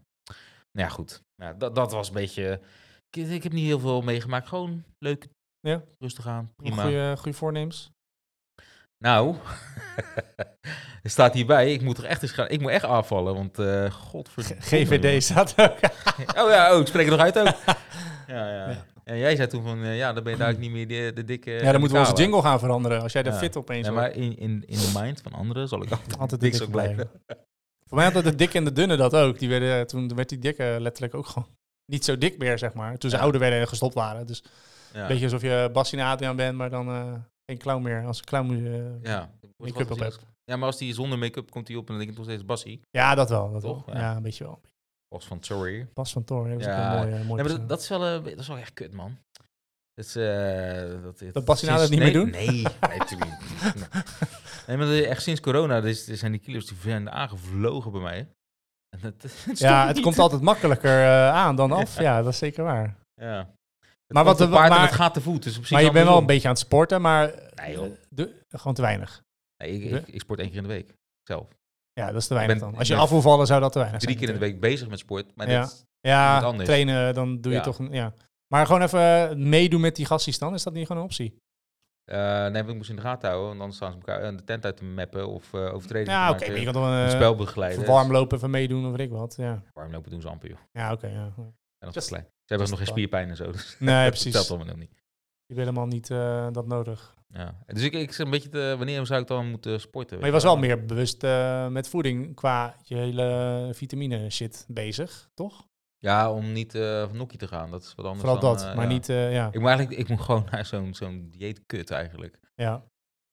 A: Nou ja, goed. Ja, dat, dat was een beetje, ik, ik heb niet heel veel meegemaakt. Gewoon leuk,
B: Ja.
A: rustig aan, prima.
B: Goede, goede voornemens.
A: Nou, er staat hierbij, ik moet toch echt eens gaan, ik moet echt afvallen, want eh godverdomme.
B: GVD staat er ook.
A: jongen. Oh ja, oh, ik spreek er nog uit ook. ja, ja.
B: Ja.
A: En jij zei toen van, eh, ja, dan ben je daar ook niet meer de, de dikke...
B: Ja, dan moeten we onze
A: kale.
B: jingle gaan veranderen. Als jij de
A: Ja.
B: fit opeens
A: Ja,
B: wordt.
A: maar in, in, in de mind van anderen zal ik altijd,
B: Altijd
A: altijd
B: de
A: dik zo
B: dikke
A: blijven.
B: Voor mij hadden de dikke en de dunne dat ook. Die werden, eh, toen werd die dikke letterlijk ook gewoon niet zo dik meer, zeg maar. Toen ze
A: Ja.
B: ouder werden en gestopt waren. Dus
A: Ja.
B: een beetje alsof je Bassie en Adriaan bent, maar dan eh, geen clown meer als een clown eh,
A: Ja. Wordt
B: make-up
A: wel
B: op
A: gezien.
B: hebt.
A: Ja, maar als die zonder make-up komt hij op, en dan denk ik nog steeds Bassie.
B: Ja, dat wel. Dat
A: Toch?
B: wel.
A: Ja.
B: Ja. een beetje wel.
A: Bas van Sorry.
B: Bas van Toorn hebben ze
A: Ja.
B: ook een mooie, mooie
A: Nee, maar
B: persoon.
A: dat, dat, is wel, eh, dat is wel echt kut, man. Dat, is, eh dat,
B: Dat Bas Sinada het
A: sinds-
B: niet
A: nee,
B: meer
A: Nee, nee, natuurlijk niet. Nee. Nee, maar dat- echt sinds corona dus, er zijn die kilo's die zijn aangevlogen bij mij. hè. En dat, dat stopt
B: Ja, het
A: niet.
B: komt altijd makkelijker eh, aan dan af. Ja. dat is zeker waar.
A: Ja. Het
B: Maar
A: komt
B: wat-
A: op paard en
B: maar-
A: het gaat te voet. Dus op zich
B: Maar je bent wel
A: andersom.
B: een beetje aan het sporten, maar eh,
A: Nee, joh.
B: de- gewoon te weinig.
A: Nee, ik, ik, ik sport één keer in de week. Zelf.
B: Ja, dat is te weinig
A: Ik ben-
B: dan. Als je
A: ik ben
B: af wil vallen, zou dat te weinig
A: Drie
B: zijn.
A: keer in de week bezig met sport. Maar
B: Ja.
A: dit, Moet
B: Ja,
A: anders.
B: trainen, dan doe je
A: Ja.
B: toch... een- Ja. Maar gewoon even eh, meedoen met die gastjes dan, is dat niet gewoon een optie?
A: eh, nee, want ik moest in de gaten houden. Want anders staan ze elkaar eh, de tent uit te mappen of eh overtredingen
B: Ja,
A: te
B: oké,
A: maken,
B: maar je kan toch een,
A: een
B: eh,
A: spel begeleiden.
B: even warm lopen, even meedoen of weet ik wat. Ja,
A: Warmlopen doen ze amper, joh.
B: ja oké. ja.
A: En dat is
B: Just-
A: klein. Ze hebben nog
B: just
A: geen
B: fun.
A: spierpijn en zo. Dus
B: Nee,
A: Dat
B: precies.
A: telt allemaal nog niet.
B: Je bent helemaal niet eh, dat nodig.
A: Ja. Dus ik, ik zit een beetje te, wanneer zou ik dan moeten sporten?
B: Maar je was wel meer bewust eh, met voeding qua je hele vitamine shit bezig, toch?
A: Ja, om niet eh van nokkie te gaan. Dat is wat anders
B: Vooral
A: dan,
B: dat,
A: eh,
B: maar
A: ja.
B: niet... eh, ja.
A: Ik moet, eigenlijk, ik moet gewoon naar zo'n zo'n dieetkut eigenlijk.
B: ja.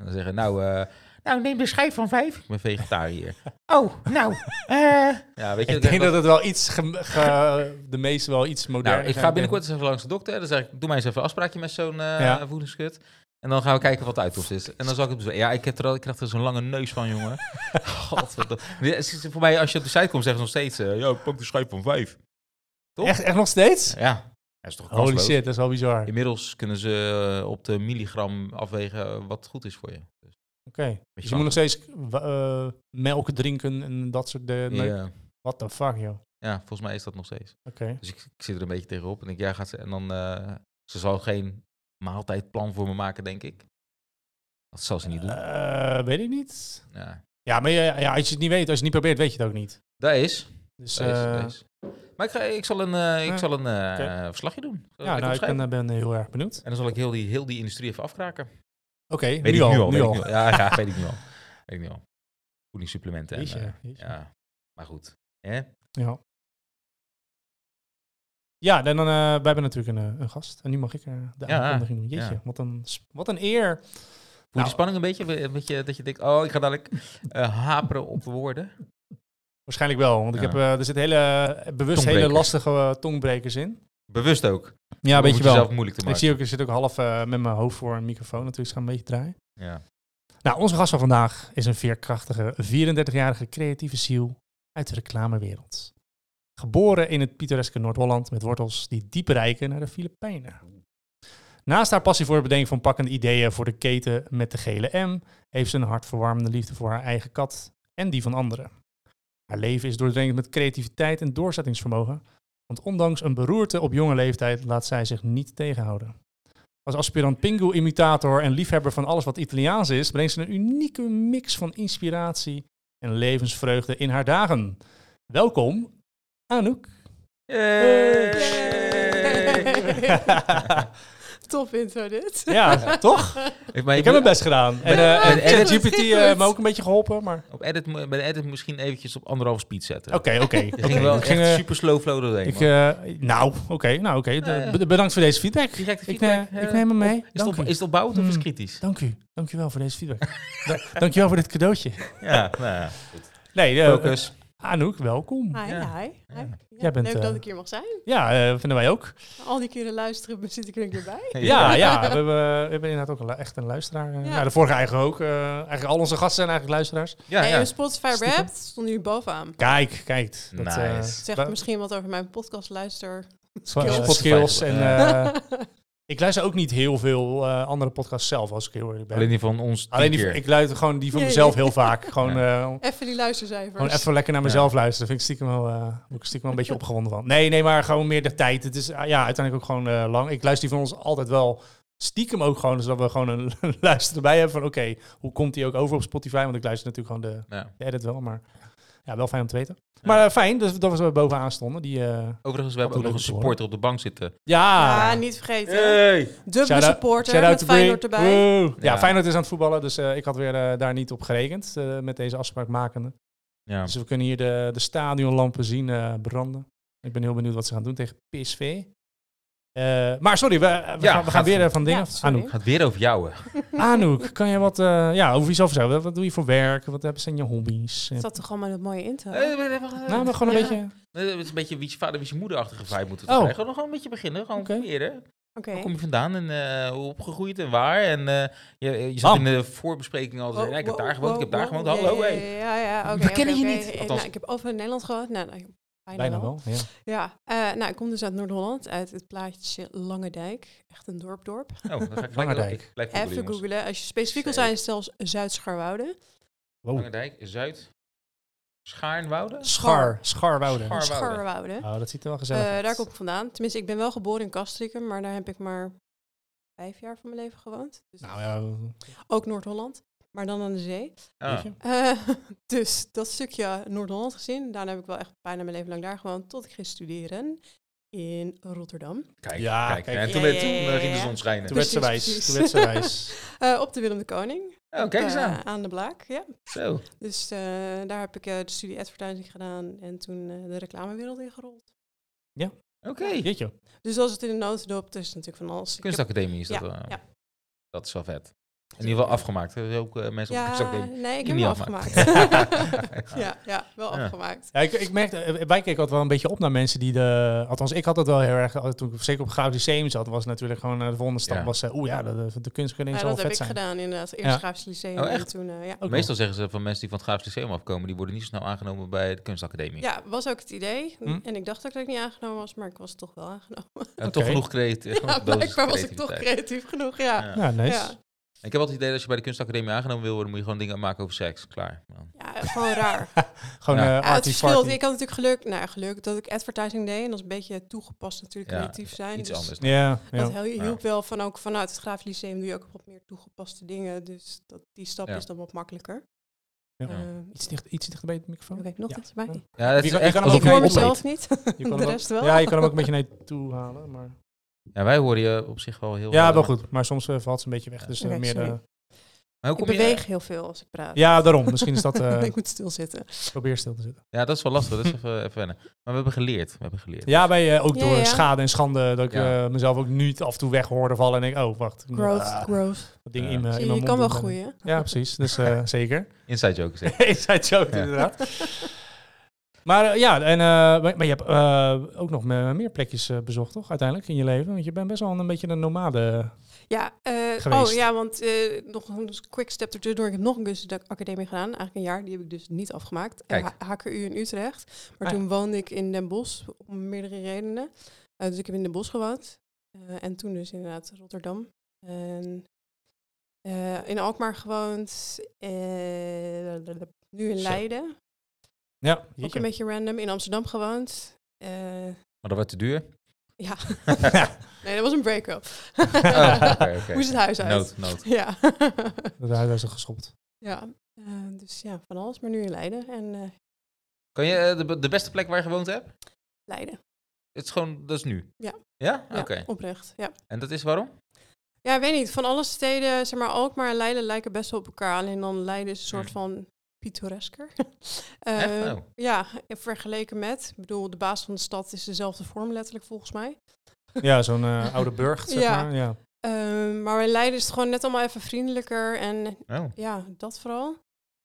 A: En dan zeggen, nou, eh, nou neem de schijf van vijf. Ik ben vegetariër. oh, nou. eh. Ja, weet je.
B: Ik
A: dat-
B: denk dat het wel iets, ge- ge- de meeste wel iets moderner
A: nou, ik ga
B: zijn.
A: binnenkort eens even langs de dokter. Dan zeg ik, doe mij eens even een afspraakje met zo'n eh
B: Ja.
A: voedingskut. En dan gaan we kijken wat de uitkomst is. En dan zal ik het bezwaren. Ja, ik, heb er, al- ik krijg er zo'n lange neus van, jongen. Godverdomme. Ja, ze- ze- Voor mij, als je op de site komt, zeggen ze nog steeds... eh, ja, ik pak de schijf van vijf. toch?
B: Echt, echt nog steeds?
A: Ja, dat is toch
B: Holy
A: kansloos?
B: shit, dat is wel bizar. Oké.
A: Inmiddels kunnen ze eh, op de milligram afwegen eh, wat goed is voor je. Dus,
B: Dus je moet nog steeds eh, melk drinken en dat soort dingen.
A: ja,
B: What the fuck, joh. Oké.
A: eh, ja, volgens mij is dat nog steeds. Dus ik, ik zit er een beetje tegenop. En ik, ja, gaat ze... En dan... eh, ze zal geen maaltijdplan voor me maken, denk ik. Dat zal ze niet doen.
B: Eh, weet ik niet.
A: Ja.
B: Ja, maar ja, ja, als je het niet weet, als je het niet probeert, weet je het ook niet.
A: Dat is.
B: Dus
A: dat is,
B: eh,
A: dat is. Maar ik, ga, ik zal een, eh, ik
B: Ja.
A: zal een eh,
B: Oké.
A: verslagje doen. Zal
B: ja,
A: ik
B: nou, ik
A: opschrijven?
B: ben, ben heel erg benieuwd.
A: En dan zal ik heel die, heel die industrie even afkraken.
B: Oké,
A: Weet
B: nu,
A: ik nu
B: al,
A: al.
B: nu
A: weet
B: al.
A: Ik nu al. Ja, ja, weet ik nu al. Weet ik nu al. Voedingssupplementen. En,
B: Jeetje,
A: eh,
B: jeetje.
A: ja, maar goed. Hè?
B: Ja. Ja, dan, dan, eh, wij hebben natuurlijk een, eh, een gast. En nu mag ik eh, de
A: Ja,
B: aankondiging doen. Jeetje,
A: ja.
B: wat, een, s- wat een eer.
A: Voel je
B: Nou.
A: de spanning een beetje? Een beetje dat je denkt, oh, ik ga dadelijk eh, haperen op de woorden.
B: Waarschijnlijk wel, want ik
A: Ja.
B: heb, eh, er zitten hele, eh, bewust hele
A: Tongbrekers.
B: lastige eh, tongbrekers in.
A: Bewust ook.
B: Ja,
A: Om
B: weet je
A: het
B: wel.
A: jezelf moeilijk te
B: Ik
A: maken.
B: zie ook, ik zit ook half eh, met mijn hoofd voor een microfoon natuurlijk. Dus ik ga een beetje draaien.
A: Ja.
B: Nou, onze gast van vandaag is een veerkrachtige 34-jarige creatieve ziel uit de reclamewereld. Geboren in het pittoreske Noord-Holland met wortels die diep reiken naar de Filipijnen. Naast haar passie voor het bedenken van pakkende ideeën voor de keten met de gele M, heeft ze een hartverwarmende liefde voor haar eigen kat en die van anderen. Haar leven is doordringend met creativiteit en doorzettingsvermogen, want ondanks een beroerte op jonge leeftijd laat zij zich niet tegenhouden. Als aspirant Pingu-imitator en liefhebber van alles wat Italiaans is, brengt ze een unieke mix van inspiratie en levensvreugde in haar dagen. Welkom, Anouk.
A: Hey.
C: Top intro dit.
B: ja, toch?
A: Ik- maar je
B: Ik heb mijn
A: moet-
B: best gedaan. En,
A: Ja,
B: eh, en
A: het is
B: ChatGPT
C: goed.
B: eh, heeft me ook een beetje geholpen, maar...
A: Op edit, mo- bij de edit misschien eventjes op anderhalf speed zetten.
B: Oké, oké.
A: Je
B: oké.
A: ging wel
B: Ik ging,
A: echt
B: eh,
A: super slow flow doorheen.
B: ik,
A: man.
B: eh, nou, oké. nou, oké. De-
A: ja.
B: bed- Bedankt voor deze feedback.
A: Directe
B: Ik,
A: feedback,
B: eh,
A: eh,
B: ik neem hem mee.
A: Is het,
B: Dank
A: op,
B: u.
A: is het opbouwend of is het
B: Mm.
A: kritisch?
B: Dank u. Dank u wel voor deze feedback. Da- Dank je wel voor dit cadeautje.
A: Ja, nou ja.
B: Nee, eh,
A: Focus.
B: Anouk, welkom.
C: Hi,
A: Ja.
C: hi. hi.
A: Ja.
C: Ja,
B: Jij bent,
C: leuk
B: eh,
C: dat ik hier mag zijn.
B: Ja, eh, vinden wij ook.
C: Al die keren luisteren zit ik er een keer bij.
B: Ja, ja we, hebben, eh, we hebben inderdaad ook een, lu- echt een luisteraar. eh.
C: Ja.
B: Nou, de vorige eigenlijk ook. eh, eigenlijk al onze gasten zijn eigenlijk luisteraars.
A: Ja,
C: hey,
A: ja.
C: en Spotify
B: Stiekem.
C: Wrapped stond nu bovenaan.
B: Kijk, kijk. Dat, eh,
A: Nice.
C: Zegt
B: wa-
C: misschien wat over mijn podcast luister.
B: wa-
C: skills.
B: spotskills En,
A: Ja.
B: eh, ik luister ook niet heel veel eh, andere podcasts zelf, als ik heel eerlijk ben.
A: Alleen die van ons tien
B: Alleen die,
A: keer.
B: ik luister gewoon die van
C: Nee.
B: mezelf heel vaak. Gewoon, eh,
C: Even die luistercijfers.
B: gewoon even lekker naar mezelf luisteren. Vind ik stiekem wel, eh, word ik stiekem wel een beetje opgewonden van. Nee, nee, maar gewoon meer de tijd. Het is ah, ja, uiteindelijk ook gewoon eh, lang. Ik luister die van ons altijd wel stiekem ook gewoon. Zodat we gewoon een luister erbij hebben van oké, hoe komt die ook over op Spotify? Want ik luister natuurlijk gewoon de,
A: Ja.
B: de edit wel, maar ja, wel fijn om te weten. Maar eh, fijn dat, we- dat we zo bovenaan stonden. Die, eh,
A: Overigens, we hebben ook nog een
B: leuk om te horen.
A: supporter op de bank zitten.
B: ja, eh,
C: Ja, niet vergeten.
A: Eh.
C: Dubbele
B: Ah. Shout-out-
C: supporter
B: shout-out
C: met
B: to Bree.
C: Feyenoord erbij.
B: Woe. Ja,
A: Ja.
B: Feyenoord is aan het voetballen, dus eh, ik had weer eh, daar niet op gerekend eh, met deze afspraak makende.
A: Ja.
B: Dus we kunnen hier de, de stadionlampen zien eh, branden. Ik ben heel benieuwd wat ze gaan doen tegen PSV. Eh, maar sorry, we, we, gaan, we gaan
A: gaat-
B: weer van dingen
C: Ja,
B: af.
C: sorry.
B: Anouk.
A: Gaat weer over jou. hè.
B: Anouk, kan je wat eh, ja, over jezelf zeggen? Wat, wat doe je voor werk? Wat hebben- zijn je hobby's? Eh,
C: Dat zat toch allemaal het mooie in te houden?
A: Eh, wacht, wacht, wacht.
B: Nou, maar gewoon een
C: Ja.
B: beetje...
A: Eh, Het is een beetje wie vader, wie moederachtige vibe moeten we
B: Oh.
A: krijgen. Gewoon gewoon een beetje beginnen. Gewoon
B: Oké.
A: leren.
C: Oké.
A: Waar Oh, kom je vandaan en eh, hoe opgegroeid en waar? En eh, je, je zat
B: Bam. Oh,
A: in de voorbespreking al te zeggen,
C: Wow,
A: "Ja, ik heb
C: wow,
A: daar gewoond, ik heb
C: wow,
A: daar gewoond,
C: wow.
A: hallo.
C: Ja,
A: hey."
C: ja, ja, ja, oké,
A: We kennen
C: oké,
A: je
C: oké.
A: niet.
C: Eh,
A: Althans-
C: nou, ik heb over Nederland gewoond. Nou, nou, bijna,
B: Bijna
C: wel.
B: wel, ja.
C: Ja, eh, nou, ik kom dus uit Noord-Holland, uit het plaatje Langendijk. Echt een dorpdorp.
A: Oh, dan ga ik gelijk-
B: Langendijk.
A: ik- gelijk googlen,
C: Even
A: jongens.
C: googelen. Als je specifiek wil
A: Zeker.
C: zijn, is het zelfs Zuid-Scharwoude.
B: Wow.
A: Langendijk, Zuid, Schaarnwoude.
B: Schar, Scharwouden.
A: Schar. Scharwoude.
C: Scharwoude.
B: Oh, dat ziet er wel gezellig
C: Eh,
B: uit.
C: daar kom ik vandaan. Tenminste, ik ben wel geboren in Kastrikum, maar daar heb ik maar vijf jaar van mijn leven gewoond. Dus
B: Nou ja,
C: Ook Noord-Holland, maar dan aan de zee.
A: Ah.
B: weet je.
C: Eh, dus dat stukje Noord-Holland gezien, daarna heb ik wel echt bijna mijn leven lang daar gewoond, tot ik ging studeren in Rotterdam.
A: Kijk,
B: Ja,
A: kijk.
B: kijk.
A: En toen,
C: Ja, ja,
A: eh, toen eh,
C: ja, ja,
A: ging de
C: ja.
A: zon schijnen.
B: Toen werd ze
C: Precies,
B: wijs.
C: precies.
B: Toen werd ze wijs.
C: Eh, op de Willem de Koning.
A: Oh, kijk eens
C: eh,
A: aan.
C: aan de Blaak, ja.
A: Zo.
C: Dus eh, daar heb ik eh, de studie advertising gedaan en toen eh, de reclamewereld ingerold.
A: Oké.
B: Jeetje.
C: Dus dat is het in een notendop. Er is natuurlijk van alles. Ik heb-
A: Kunstacademie is dat wel.
C: ja.
A: Dat is wel vet. In ieder geval afgemaakt. Er zijn ook eh, mensen op de
C: Ja,
A: kunstacademie.
C: nee, ik
A: die
C: heb
A: niet
C: hem
A: afmaakt.
C: afgemaakt. ja, ja, wel
A: Ja.
C: afgemaakt.
B: Ja, ik, ik merkte, eh, wij keken altijd wel een beetje op naar mensen die de... Althans, ik had dat wel heel erg... eh, Toen ik zeker op Goud Lyceum zat, was natuurlijk gewoon eh, de volgende stap
A: Ja.
B: was... eh, Oeh ja, de, de, de kunstkunde
C: Ja,
B: zal wel
C: dat heb
B: vet
C: ik
B: zijn.
C: gedaan inderdaad. Eerst
B: Ja.
C: Graafs Lyceum
A: Oh,
C: en
A: echt?
C: toen, eh, ja.
B: Ook
A: Meestal zeggen ze van mensen die van het Graafs Lyceum afkomen, die worden niet zo snel aangenomen bij de kunstacademie.
C: ja, was ook het idee.
B: Hm?
C: En ik dacht ook dat ik niet aangenomen was, maar ik was toch wel aangenomen.
A: En toch
B: Oké.
A: genoeg creatief.
C: Ja, blijkbaar was ik toch creatief genoeg, ja. ja.
B: wel. Ja, nice.
C: Ja.
A: Ik heb altijd het idee dat als je bij de kunstacademie aangenomen wil worden, moet je gewoon dingen maken over seks. Klaar. Nou, Man.
C: gewoon raar.
B: Gewoon
A: Ja.
B: eh,
C: Ja, het
B: arty
C: verschilt.
B: farty.
C: Ik had natuurlijk geluk, nou, geluk dat ik advertising deed. En dat is een beetje toegepast natuurlijk,
A: Ja,
C: creatief zijn.
A: Iets
C: dus
A: anders.
B: Ja, ja.
C: Dat heel- hielp wel van ook vanuit het Graaf Lyceum doe je ook wat meer toegepaste dingen. Dus dat, die stap
A: Ja.
C: is dan wat makkelijker.
B: Ja.
C: Eh,
B: Iets, dicht, iets dichter bij de microfoon.
C: Oké, nog
B: Ja.
C: iets bij.
B: Ja.
A: Ja, dat
B: Je
A: is
B: kan- je
A: echt
B: kan hem
A: alsof
C: Ik
B: ook
A: jij
C: hoor
B: mee
A: opeet.
C: mezelf niet.
B: Je kan
C: De
B: hem ook-
C: rest wel.
B: Ja, je kan hem ook een beetje naar je toe halen. Maar...
A: Ja, wij horen je op zich wel heel
B: Ja,
A: eh,
B: wel goed. Maar soms eh, valt ze een beetje weg. Dus eh,
C: Oké,
B: meer de-
C: sorry.
A: Maar hoe
C: Ik
A: kom je...
C: beweeg heel veel als ik praat.
B: Ja, daarom. Misschien is dat... eh,
C: ik moet stilzitten.
B: probeer stil te zitten.
A: Ja, dat is wel lastig. Dat is even, even wennen. Maar we hebben geleerd. We hebben geleerd.
B: Ja, bij, eh, ook
C: Ja,
B: door
C: ja.
B: schade en schande. Dat ik
A: Ja.
B: eh, mezelf ook nu af en toe weg hoorde vallen. En ik, oh, wacht. ik moet,
C: Growth,
B: ah,
C: growth.
B: dat ding
A: Ja.
B: in mijn
C: Zie
B: in
C: je,
B: mijn
C: je kan wel
B: mond doen.
C: groeien.
B: Ja, precies. Dus eh, zeker.
A: Inside joke zeg.
B: Ik zei het zo,
A: Ja.
B: inderdaad. Maar eh, ja, en, eh, maar, maar je hebt eh, ook nog me- meer plekjes eh, bezocht, toch? Uiteindelijk in je leven. Want je bent best wel een beetje een nomade.
C: Ja, eh,
B: Geweest.
C: oh ja, want eh, nog een quick step ertussendoor. Ik heb nog een kunstacademie gedaan, eigenlijk een jaar. Die heb ik dus niet afgemaakt. En
A: Kijk.
C: H- HKU in Utrecht. Maar
B: Ah, ja.
C: toen woonde ik in Den Bosch, om meerdere redenen. Eh, dus ik heb in Den Bosch gewoond. Eh, en toen dus inderdaad Rotterdam. En eh, in Alkmaar gewoond. Eh, nu in
B: Zo.
C: Leiden.
B: Ja,
C: Ook een
B: jeetje.
C: beetje random. In Amsterdam gewoond. Eh,
A: Maar dat wordt te duur.
C: ja,
B: Ja,
C: nee, dat was een break-up.
A: Oh, oké, oké.
C: Hoe is het huis uit?
A: Nood, nood.
C: Ja.
B: dat huis is er geschopt.
C: ja. eh, dus ja, van alles, maar nu in Leiden. En eh,
A: Kan je eh, de, be- de beste plek waar je gewoond hebt?
C: Leiden.
A: Het is gewoon, dat is nu.
C: Ja.
A: Ja? Oké.
C: Ja, Oprecht, ja.
A: En dat is waarom? Oh,
C: Ja, ik weet niet. Van alle steden, zeg maar Alkmaar en Leiden lijken best wel op elkaar. Alleen dan Leiden is een soort
A: Hmm.
C: van pittoresker.
A: Echt?
C: Eh,
A: Oh.
C: Ja, vergeleken met. Ik bedoel, de baas van de stad is dezelfde vorm letterlijk volgens mij.
B: Ja, zo'n eh, oude burcht, zeg
C: Ja.
B: maar. Ja.
C: Eh, maar in Leiden is het gewoon net allemaal even vriendelijker. En
A: Oh.
C: ja, dat vooral.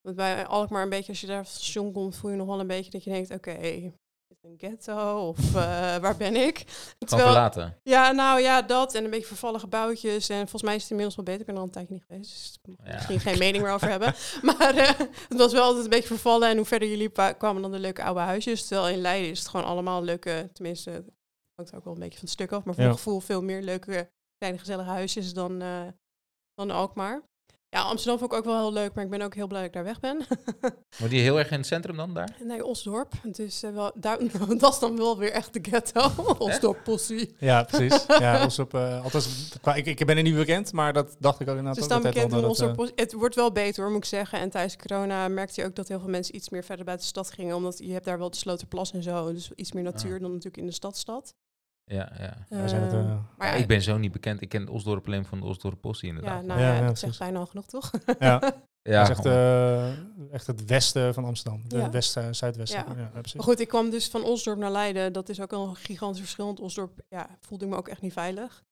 C: Want bij Alkmaar een beetje, als je daar op het station komt, voel je nog wel een beetje dat je denkt, oké, is dit een ghetto? Of eh, waar ben ik?
A: Gewoon
C: Terwijl,
A: verlaten.
C: ja, nou ja, dat en een beetje vervallen gebouwtjes. En volgens mij is het inmiddels wel beter. Ik ben er al een tijdje niet geweest, dus daar mag ik
A: Ja.
C: misschien geen mening meer over hebben. Maar eh, het was wel altijd een beetje vervallen. En hoe verder je liep, wa- kwamen dan de leuke oude huisjes. Terwijl in Leiden is het gewoon allemaal leuke, tenminste, het hangt ook wel een beetje van het stuk af. Maar voor
B: Ja.
C: mijn gevoel veel meer leuke, kleine gezellige huisjes dan, eh dan Alkmaar. Ja, Amsterdam vond ik ook wel heel leuk, maar ik ben ook heel blij dat ik daar weg ben.
A: Moet je heel erg in het centrum dan, daar?
C: Nee, Osdorp. Dus eh, wel, daar, dat is dan wel weer echt de ghetto. Osdorp, possie.
B: ja, precies. Ja, ons op, eh, althans, qua- ik, ik ben er niet bekend, maar dat dacht ik ook inderdaad.
C: Ze
B: ook
C: staan
B: altijd wel
C: bekend om
B: dat
C: onze
B: het, eh,
C: post- Het wordt wel beter hoor, moet ik zeggen. En tijdens corona merkte je ook dat heel veel mensen iets meer verder buiten de stad gingen. Omdat je hebt daar wel de Sloterplas en zo. Dus iets meer natuur dan natuurlijk in de stadstad.
A: Ja, ja.
B: wij zijn het,
C: Eh,
B: eh,
C: maar ja,
A: ik ben zo niet bekend. Ik ken het Osdorp alleen van de Osdorp Postie
C: Ja,
A: inderdaad.
C: nou
B: Ja,
C: ja,
B: ja,
C: dat
B: precies.
C: zegt bijna al genoeg toch?
B: Ja.
A: Ja,
B: Dat is echt, eh, echt het westen van Amsterdam. De
C: Ja.
B: westen, zuidwesten. Ja.
C: Ja.
B: precies.
C: Maar goed, ik kwam dus van Osdorp naar Leiden. Dat is ook al een gigantisch verschil. Want Osdorp ja, voelde ik me ook echt niet veilig.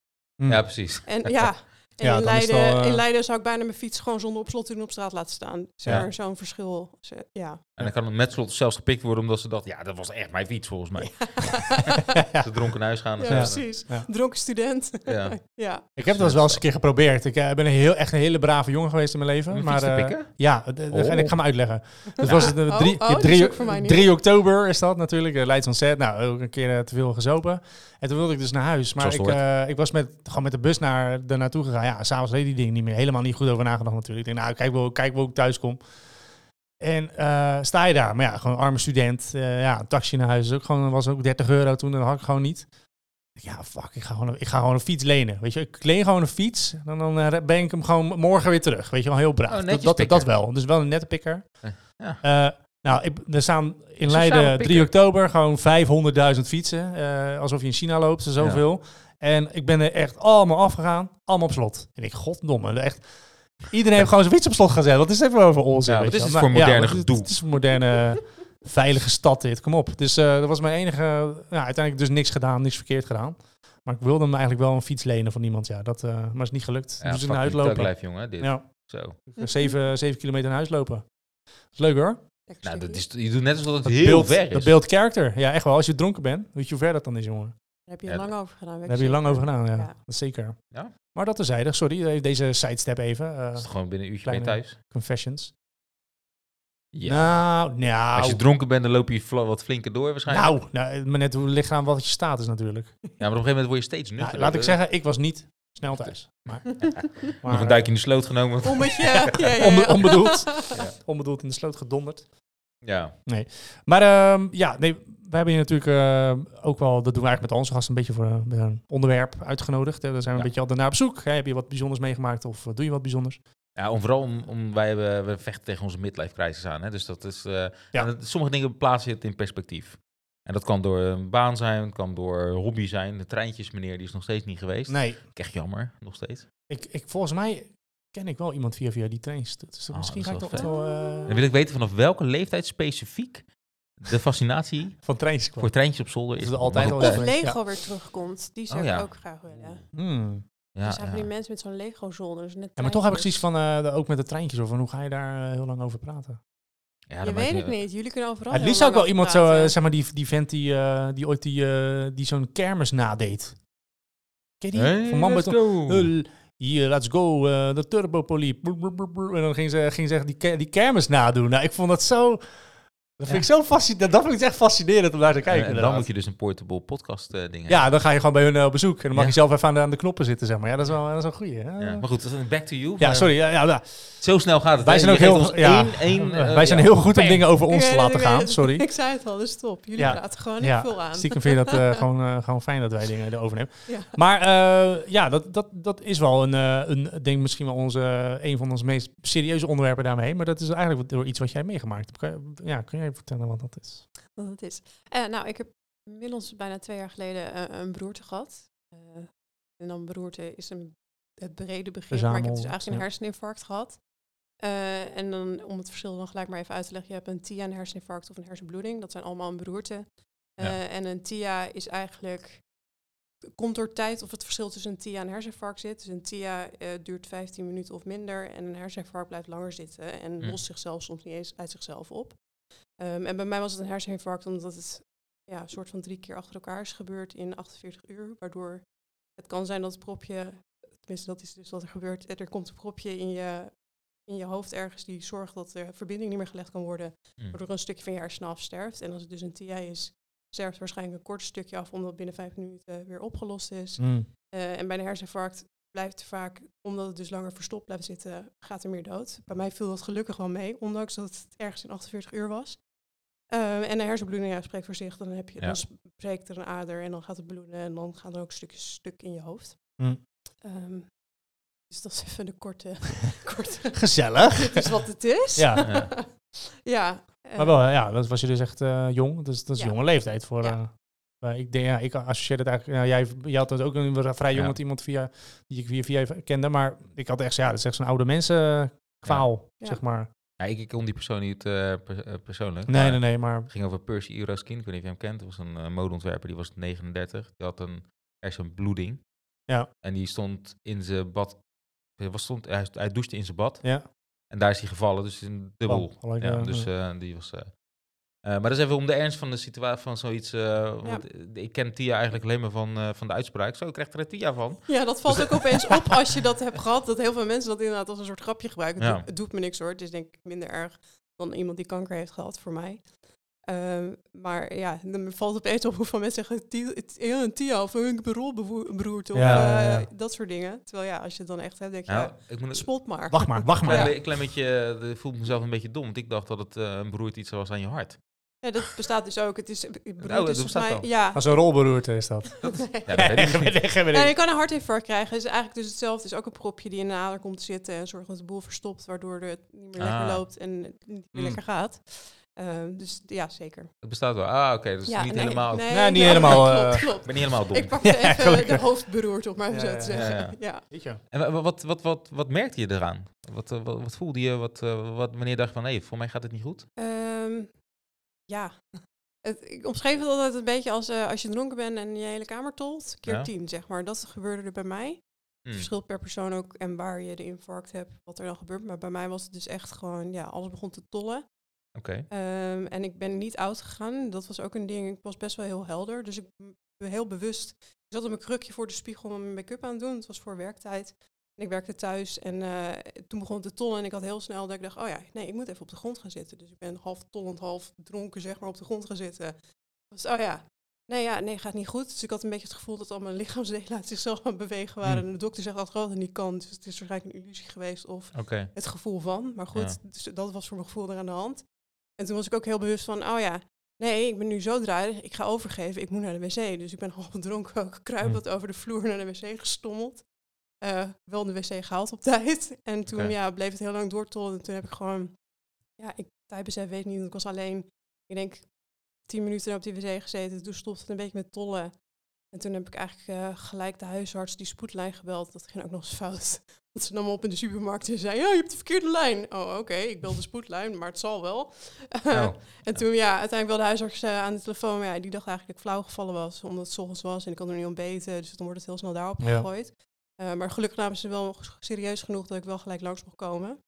B: Mm.
A: ja, precies.
C: En ja, en
B: Ja,
C: in,
B: dan is het
C: Leiden,
B: al, eh,
C: in Leiden zou ik bijna mijn fiets gewoon zonder op slot doen op straat laten staan. Zo-
A: Ja.
C: Zo'n verschil. Zo- ja.
A: En dan kan het met slot zelfs gepikt worden omdat ze dacht, ja, dat was echt mijn fiets volgens mij. Ze dronken naar huis gaan.
C: Ja,
A: Ja,
C: precies.
B: Ja.
C: Dronken student.
A: ja.
C: Ja.
B: Ik heb dat wel eens een keer geprobeerd. Ik eh, ben een heel, echt een hele brave jongen geweest in mijn leven.
A: Om een
B: maar,
A: fiets te
B: eh,
A: pikken? Oh.
B: ja, d- d- en ik ga me uitleggen. Dus
A: Ja.
B: was het eh,
C: Oh,
B: drie,
C: oh,
B: je hebt
C: die is
B: drie-
C: ook voor mij nieuw.
B: 3 oktober is dat natuurlijk, eh, Leids Ontzet. Nou, ook een keer eh, te veel gezopen. En toen wilde ik dus naar huis. Maar
A: Zoals het
B: ik, eh, ik was met, gewoon met de bus naar, er naartoe gegaan. Ja, s'avonds deed die dingen niet meer. Helemaal niet goed over nagedacht natuurlijk. Ik denk, nou, kijk wel, kijk wel hoe ik thuis kom. En eh, sta je daar. Maar ja, gewoon arme student. eh, ja, een taxi naar huis is ook gewoon, was ook 30 euro toen. Dat had ik gewoon niet. Ja, fuck, ik ga, gewoon, ik ga gewoon een fiets lenen. Weet je, ik leen gewoon een fiets. En dan eh, ben ik hem gewoon morgen weer terug. Weet je wel, heel braaf.
A: Oh, netjes
B: dat, dat,
A: pikker.
B: dat wel. Dus wel een nette pikker.
A: Ja.
B: Eh, nou, ik, er staan in
A: Sociale
B: Leiden
A: pikker.
B: 3 oktober gewoon 500.000 fietsen. eh, alsof je in China loopt, er zoveel. En ik ben er echt allemaal afgegaan, allemaal op slot. En ik, goddomme, echt. Iedereen heeft gewoon zijn fiets op slot gezet. Wat is het even over onzin?
A: Ja,
B: weet
A: wat is
B: je
A: dit
B: wel?
A: voor
B: Maar
A: moderne
B: wat is-
A: gedoe?
B: Het is een moderne, veilige stad dit, kom op. Dus eh, dat was mijn enige, ja, uiteindelijk dus niks gedaan, niks verkeerd gedaan. Maar ik wilde hem eigenlijk wel een fiets lenen van iemand, ja. Dat, eh, maar is niet gelukt.
A: Ja,
B: dus in
A: fucking
B: huis lopen.
A: thuisblijf, jongen, dit.
B: Ja,
A: Zo. Nou,
B: zeven, zeven kilometer naar huis lopen. Dat is leuk hoor.
A: Nou, dat is, je doet net alsof het
B: Dat
A: heel
B: beeld,
A: ver
B: Dat
A: is.
B: beeld character. Ja, echt wel. Als je dronken bent, weet je hoe ver dat dan is, jongen.
C: Daar heb je
A: Ja,
C: lang over gedaan. weet
B: Daar
C: ik
B: heb je lang
C: zeker.
B: over gedaan, ja.
C: Ja.
B: Dat is zeker.
A: Ja.
B: Maar dat terzijdig, sorry, even deze sidestep even. eh,
A: Is het gewoon binnen een uurtje
B: Kleine-
A: ben je thuis?
B: confessions.
A: Ja.
B: Nou, nou.
A: Als je dronken bent, dan loop je fla- wat flinker door waarschijnlijk.
B: nou, nou, maar net hoe het ligt aan wat je status natuurlijk.
A: Ja, maar op een gegeven moment word je steeds nuchter.
B: Nou, laat ik zeggen, ik was niet snel thuis. Maar, maar,
A: Nog een duikje in de sloot genomen.
C: Ommetje. ja, ja, ja.
B: Onbe- onbedoeld.
A: Ja.
B: eh, Onbedoeld in de sloot gedonderd.
A: Ja.
B: Maar ehm, ja, nee, we hebben je natuurlijk ehm, ook wel, dat doen we eigenlijk met al onze gasten, een beetje voor een, een onderwerp uitgenodigd. Hè. Daar zijn we
A: Ja.
B: een beetje altijd naar op zoek. Hè. Heb je wat bijzonders meegemaakt of eh, doe je wat bijzonders?
A: Ja, om, vooral om, om- wij hebben, we vechten tegen onze midlife crisis aan. Hè? Dus dat is, eh, en het- sommige dingen plaatsen je het in perspectief. En dat kan door een baan zijn, het kan door hobby zijn. De treintjes meneer, die is nog steeds niet geweest.
B: Nee,
A: Echt jammer, nog steeds.
B: ik, ik, volgens mij ken ik wel iemand via via die trains. Dus
A: Oh,
B: misschien ga
A: dat
B: ik
A: is
B: toch
A: wel
B: wel... eh,
A: Dan wil ik weten vanaf welke leeftijd specifiek de fascinatie
B: van treins kwam.
A: voor treintjes op zolder
B: Dat
A: is.
B: is er altijd
A: Maar
B: al
A: goed,
C: Of
B: zo.
A: eh,
C: Lego weer terugkomt. Die zou
A: Oh, ja.
C: ik ook graag willen.
B: Hmm.
A: ja,
C: dus hebben
A: ja.
C: die mensen met zo'n Lego-zolder. Dus net
B: Ja, maar toch heb ik zoiets van, eh, de- ook met de treintjes, over hoe ga je daar eh, heel lang over praten?
A: Ja,
C: Ja,
A: dat
C: je
A: maakt
C: weet het niet. Jullie kunnen overal.
B: het
C: heel
B: liefst zou ik
C: lang
B: wel iemand
C: over
B: zo, eh,
C: praten.
B: zeg maar die, die vent die, eh, die ooit die, eh, die zo'n kermis nadeed. Ken je die?
A: Hey,
B: Van Mambo
A: let's
B: tot-
A: go.
B: Hul, Hier, let's go, eh, de turbopolie. Brr, brr, brr, brr. En dan ging ze, ging ze echt die, ke- die kermis nadoen. Nou, ik vond dat zo... Dat vind ik zo fascinerend. Dat vind ik echt fascinerend om naar te kijken.
A: en, en dan
B: inderdaad.
A: moet je dus een portable podcast eh, ding
B: Ja, dan ga je gewoon bij hun eh, op bezoek. En dan mag
A: Ja.
B: je zelf even aan de, aan de knoppen zitten, zeg maar. Ja, dat is wel, dat is wel een goeie. hè?
A: hebben. Ja,
B: Ja,
A: Maar goed, dat is een back to you. Maar
B: sorry. Ja, ja, ja.
A: Zo snel gaat het.
B: Wij
A: hè?
B: zijn ook
A: Je geeft
B: heel,
A: ons
B: ja,
A: één- één, eh,
B: wij zijn
A: ja,
B: heel goed om
A: bang.
B: dingen over
C: Ik
B: ons
C: weet
B: te
C: het,
B: laten
C: ik weet
B: gaan.
C: het.
B: Sorry.
C: Ik zei het al, dus stop. Jullie
B: Ja.
C: praten gewoon
B: Ja,
C: niet veel aan.
B: Stiekem vind je dat eh, gewoon, eh, gewoon fijn dat wij dingen erover nemen.
C: Ja.
B: Maar eh, ja, dat, dat, dat is wel een, eh, een ik denk misschien wel onze, eh, een van onze meest serieuze onderwerpen daarmee. Maar dat is eigenlijk wat- door iets wat jij meegemaakt hebt. Kan je- ja, kun jij vertellen wat dat is?
C: wat het is. Eh, nou, ik heb inmiddels bijna twee jaar geleden eh, een beroerte gehad. Eh, en dan beroerte is een het brede begrip, maar ik heb dus
B: Verzamel,
C: eigenlijk
B: ja.
C: een herseninfarct gehad. Eh, en dan om het verschil dan gelijk maar even uit te leggen, je hebt een TIA, een herseninfarct of een hersenbloeding. Dat zijn allemaal een beroerte. Eh,
A: Ja.
C: En een TIA is eigenlijk komt door tijd of het verschil tussen een TIA en een herseninfarct zit. Dus een TIA eh, duurt 15 minuten of minder en een herseninfarct blijft langer zitten en
A: Hm.
C: lost zichzelf soms niet eens uit zichzelf op. Ehm, en bij mij was het een herseninfarct omdat het ja, een soort van drie keer achter elkaar is gebeurd in 48 uur. Waardoor het kan zijn dat het propje, tenminste dat is dus wat er gebeurt, eh, er komt een propje in je, in je hoofd ergens die zorgt dat de verbinding niet meer gelegd kan worden.
A: Hm.
C: Waardoor een stukje van je hersenen afsterft. En als het dus een TI is, sterft waarschijnlijk een kort stukje af omdat het binnen vijf minuten weer opgelost is.
B: Mm.
C: Eh, en bij een herseninfarct blijft vaak, omdat het dus langer verstopt blijft zitten, gaat er meer dood. Bij mij viel dat gelukkig wel mee, ondanks dat het ergens in 48 uur was. Ehm, en een hersenbloeding ja, spreekt voor zich. Dan, heb je,
A: Ja.
C: dan breekt er een ader en dan gaat het bloeden en dan gaan er ook stukjes stuk in je hoofd.
B: Hm.
C: Ehm, dus dat is even de korte, korte
B: Gezellig.
C: dit is wat het is.
B: Ja.
A: Ja.
C: ja eh,
B: Maar wel, ja, dat was je dus echt eh, jong. Dus dat is
C: Ja.
B: jonge leeftijd voor.
C: Ja.
B: eh, maar ik, denk, ja, ik associeer het eigenlijk. Nou, jij, jij had het ook een vrij jong
A: Ja.
B: met iemand via, die ik via, via kende. Maar ik had echt, zo, ja, dat is echt zo'n oude mensen eh, kwaal,
C: Ja.
B: zeg maar.
A: Ja, ik, ik kon die persoon niet eh, per- eh, persoonlijk.
B: Nee,
A: maar
B: nee, nee, maar
A: Het ging over Percy Eroskin. Ik weet niet of je hem kent. Dat was een eh, modeontwerper. Die was 39. Die had een, echt een bloeding.
B: Ja.
A: En die stond in zijn bad. Hij Was stond, hij, hij douchte in zijn bad.
B: ja.
A: En daar is hij gevallen. Dus een dubbel.
B: Oh, alleen,
A: ja,
B: eh,
A: dus eh, die was. eh, eh, maar dat is even om de ernst van de situatie van zoiets. eh, want eh, ik ken Tia eigenlijk alleen maar van, eh, van de uitspraak. Zo, ik krijg er een Tia van.
C: Ja, dat valt ook opeens op als je dat hebt gehad. Dat heel veel mensen dat inderdaad als een soort grapje gebruiken. Het,
A: Ja.
C: doet, het doet me niks hoor. Het is denk ik minder erg dan iemand die kanker heeft gehad voor mij. Ehm, maar ja, dan valt opeens op hoeveel mensen zeggen... "Ti- het- heel een tia of een rolberoerte of
B: Ja, ja,
C: eh,
B: ja.
C: dat soort dingen. Terwijl ja, als je het dan echt hebt, denk je...
A: Nou,
C: Ja,
A: ik moet,
C: spot maar.
B: wacht maar, wacht maar.
A: klein, be- klein beetje, eh, voel ik mezelf een beetje dom. Want ik dacht dat het eh, een beroerd iets was aan je hart.
C: Ja, dat bestaat dus ook. Het is, beroerte
A: dat
C: is volgens
A: bestaat
C: mij...
A: al.
C: Ja.
B: Als een rolberoerte is dat.
C: Nee.
A: Ja, dat weet ik
B: Echt,
A: dus niet.
B: weet ik, weet ik.
C: Ja, Nou, je kan een hartinfarct krijgen. Het is eigenlijk dus hetzelfde. Het is ook een propje die in de ader komt te zitten en zorgt dat de boel verstopt, waardoor het niet meer
A: Ah.
C: lekker loopt en het niet meer
B: Hmm.
A: Mm.
C: lekker gaat. Ehm, dus ja, zeker.
A: Het bestaat wel. Ah, oké. dus
C: ja,
A: niet
C: nee,
A: helemaal.
C: Nee,
B: Nee, Nou, niet helemaal,
C: klopt,
B: eh,
A: Ik
C: klopt.
A: ben niet helemaal dom.
C: Ik pak
B: Ja,
C: even de
B: gelukkig.
C: hoofdberoerd, om maar even
B: Ja,
C: zo
B: ja,
C: te
A: ja,
C: zeggen.
A: ja.
C: Ja,
B: Weet je.
A: En wa- wa- wat, wat, wat, wat merkte je eraan? Wat, eh, wat, wat voelde je? Wat, eh, wat meneer dacht van, hé, voor mij gaat het niet goed?
C: Ehm, ja. Het, ik omschreef het altijd een beetje als eh, als je dronken bent en je hele kamer tolt, keer
A: Ja.
C: tien, zeg maar. Dat gebeurde er bij mij.
B: Hmm.
A: Hm.
C: verschilt per persoon ook en waar je de infarct hebt, wat er dan gebeurt. Maar bij mij was het dus echt gewoon, ja, alles begon te tollen.
A: Oké.
C: Ehm, en ik ben niet oud gegaan. Dat was ook een ding. Ik was best wel heel helder. Dus ik ben heel bewust. Ik zat op mijn krukje voor de spiegel om mijn make-up aan te doen. Het was voor werktijd. En ik werkte thuis. En eh, toen begon het te tollen. En ik had heel snel dat ik dacht, oh ja, nee, ik moet even op de grond gaan zitten. Dus ik ben half tollend, half dronken, zeg maar, op de grond gaan zitten. Dus, oh ja. Nee, ja, nee, gaat niet goed. Dus ik had een beetje het gevoel dat al mijn lichaamsdelen uit zichzelf aan het bewegen waren.
A: Hmm.
C: En de dokter zegt altijd dat het niet kan. Dus het is waarschijnlijk een illusie geweest. Of
A: Oké.
C: het gevoel van. Maar goed, dus dat was voor mijn gevoel er aan de hand. En toen was ik ook heel bewust van, oh ja, nee, ik ben nu zo draaierig, ik ga overgeven, ik moet naar de wc. Dus ik ben half dronken, ook kruipend over de vloer naar de wc gestommeld. Eh, wel de wc gehaald op tijd. En toen
A: Oké.
C: ja, bleef het heel lang doortollen. En toen heb ik gewoon, ja, ik tijdbesef weet niet, want ik was alleen, ik denk, tien minuten op die wc gezeten. Toen stopte het een beetje met tollen. En toen heb ik eigenlijk eh, gelijk de huisarts die spoedlijn gebeld. Dat ging ook nog eens fout. Dat ze nam me op in de supermarkt en zei, oh, je hebt de verkeerde lijn. Oh, oké, ik bel de spoedlijn, maar het zal wel.
A: Nou,
C: en toen, ja, uiteindelijk wel de huisarts eh, aan de telefoon. Maar ja, die dacht eigenlijk dat ik flauw gevallen was, omdat het 's ochtends was en ik had er niet ontbeten. Dus dan wordt het heel snel daarop
B: Ja.
C: gegooid. Eh, maar gelukkig namen ze wel serieus genoeg dat ik wel gelijk langs mocht komen.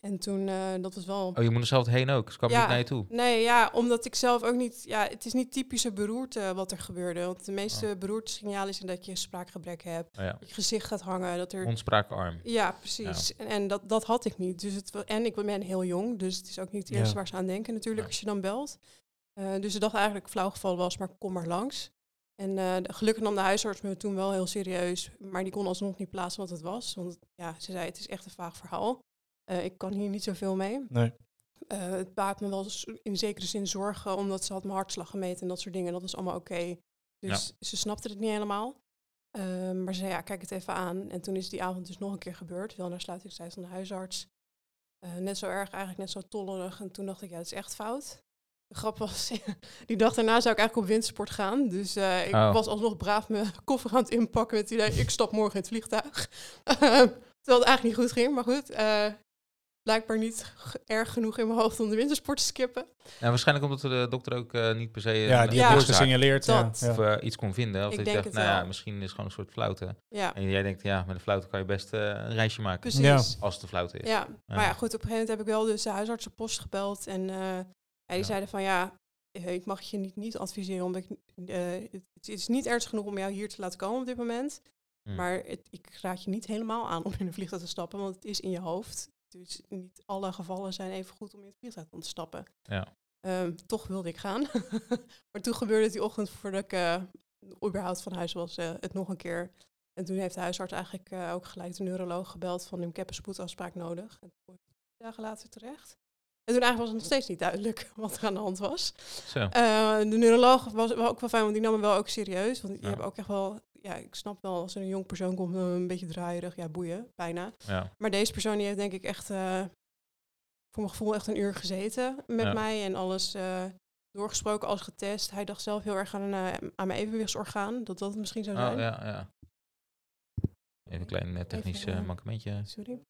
C: En toen, eh, dat was wel...
A: oh, je moet er zelf heen ook. Ze kwam
C: Ja.
A: niet naar je toe.
C: Nee, ja, omdat ik zelf ook niet... Ja, het is niet typische beroerte wat er gebeurde. Want de meeste beroerte signalen zijn dat je spraakgebrek hebt,
A: Oh, ja.
C: dat je gezicht gaat hangen, dat er
A: Onspraakarm.
C: ja, precies. En, en dat, dat had ik niet. Dus het, wa- en ik ben heel jong, dus het is ook niet het
B: Ja.
C: eerste waar ze aan denken natuurlijk
A: Ja.
C: als je dan belt. Eh, dus ze dacht eigenlijk flauwgeval was, maar kom maar langs. En eh, de- gelukkig nam de huisarts me toen wel heel serieus, maar die kon alsnog niet plaatsen wat het was. Want ja, ze zei het is echt een vaag verhaal. Eh, ik kan hier niet zoveel mee.
B: Nee.
C: Eh, het baat me wel s- in zekere zin zorgen, omdat ze had mijn hartslag gemeten en dat soort dingen. Dat was allemaal oké. Dus ze snapte het niet helemaal. Ehm, maar ze zei, ja, kijk het even aan. En toen is die avond dus nog een keer gebeurd. Wel naar sluitingstijd van de huisarts. Eh, net zo erg, eigenlijk net zo tollerig. En toen dacht ik, ja, dat is echt fout. De grap was, die dag daarna zou ik eigenlijk op windsport gaan. Dus eh, ik
A: Oh.
C: was alsnog braaf mijn koffer aan het inpakken met het idee, ik stap morgen in het vliegtuig. Ehm, terwijl het eigenlijk niet goed ging, maar goed. eh, blijkbaar niet g- erg genoeg in mijn hoofd om de wintersport te skippen.
A: Ja, waarschijnlijk omdat de dokter ook eh, niet per se eh,
B: Ja,
A: een
B: die
C: Ja.
B: heeft niks
A: oorzaak
B: gesignaleerd. Ja,
C: Dat.
A: of
B: ja.
A: eh, iets kon vinden. Of
C: Ik
A: dat je
C: denk
A: dacht,
C: het
A: nou ja,
C: wel.
A: misschien is het gewoon een soort flauwte.
C: Ja,
A: En jij denkt, ja, met een flauwte kan je best eh, een reisje maken.
C: precies.
B: Ja.
A: Als het een flauwte is.
C: Ja, maar ja, goed, op een gegeven moment heb ik wel dus de huisartsenpost gebeld. En eh, ja, die
A: Ja.
C: zeiden van ja, eh, ik mag je niet, niet adviseren, omdat ik, eh, het, het is niet ernstig genoeg om jou hier te laten komen op dit moment.
A: Hmm.
C: Maar het- ik raad je niet helemaal aan om in een vliegtuig te stappen, want het is in je hoofd. Dus niet alle gevallen zijn even goed om in het vliegtuig om te stappen.
A: Ja.
C: Ehm, toch wilde ik gaan. maar toen gebeurde het die ochtend voordat ik eh, überhaupt van huis was, eh, het nog een keer. En toen heeft de huisarts eigenlijk eh, ook gelijk de neuroloog gebeld van ik heb een spoedafspraak nodig. En toen kwam ik drie dagen later terecht. En toen eigenlijk was het nog steeds niet duidelijk wat er aan de hand was.
A: Zo.
C: Eh, de neuroloog was wel ook wel fijn, want die nam me wel ook serieus. Want die
A: Ja.
C: hebben ook echt wel, ja, ik snap wel als er een jong persoon komt, eh, een beetje draaierig, ja, boeien, bijna.
A: Ja.
C: Maar deze persoon die heeft denk ik echt eh, voor mijn gevoel echt een uur gezeten met
A: Ja.
C: mij en alles eh, doorgesproken, alles getest. Hij dacht zelf heel erg aan, eh, aan mijn evenwichtsorgaan, dat dat het misschien zou
A: Oh,
C: zijn.
A: ja, ja. Even een klein eh, technisch
C: Even,
A: eh,
C: eh,
A: mankementje.
C: Sorry.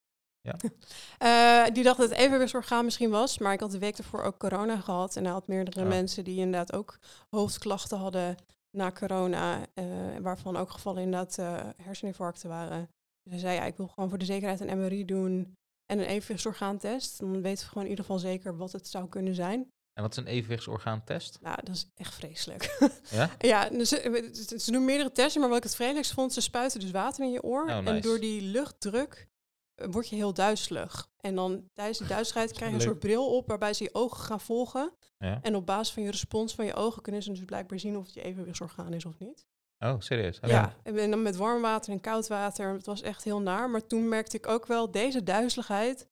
C: Eh, die dacht dat het evenwichtsorgaan misschien was, maar ik had de week ervoor ook corona gehad. En hij had meerdere
A: Ja.
C: mensen die inderdaad ook hoofdklachten hadden na corona, eh, waarvan ook gevallen inderdaad eh, herseninfarcten waren. Dus hij zei, ja, ik wil gewoon voor de zekerheid een MRI doen en een evenwichtsorgaantest. Dan weten we gewoon in ieder geval zeker wat het zou kunnen zijn.
A: En wat is een evenwichtsorgaantest?
C: Nou, dat is echt vreselijk.
A: Ja?
C: ja, dus, eh, ze, ze doen meerdere testen, maar wat ik het vreselijkst vond, ze spuiten dus water in je oor.
A: Oh,
C: En
A: nice.
C: door die luchtdruk eh, word je heel duizelig. En dan tijdens die duizeligheid krijg je een
A: Leuk.
C: soort bril op waarbij ze je ogen gaan volgen.
A: Ja.
C: En op basis van je respons van je ogen kunnen ze dus blijkbaar zien of het je evenwichtsorgaan is of niet.
A: Oh, serieus? Oké.
C: Ja, en en dan met warm water en koud water. Het was echt heel naar. Maar toen merkte ik ook wel, deze duizeligheid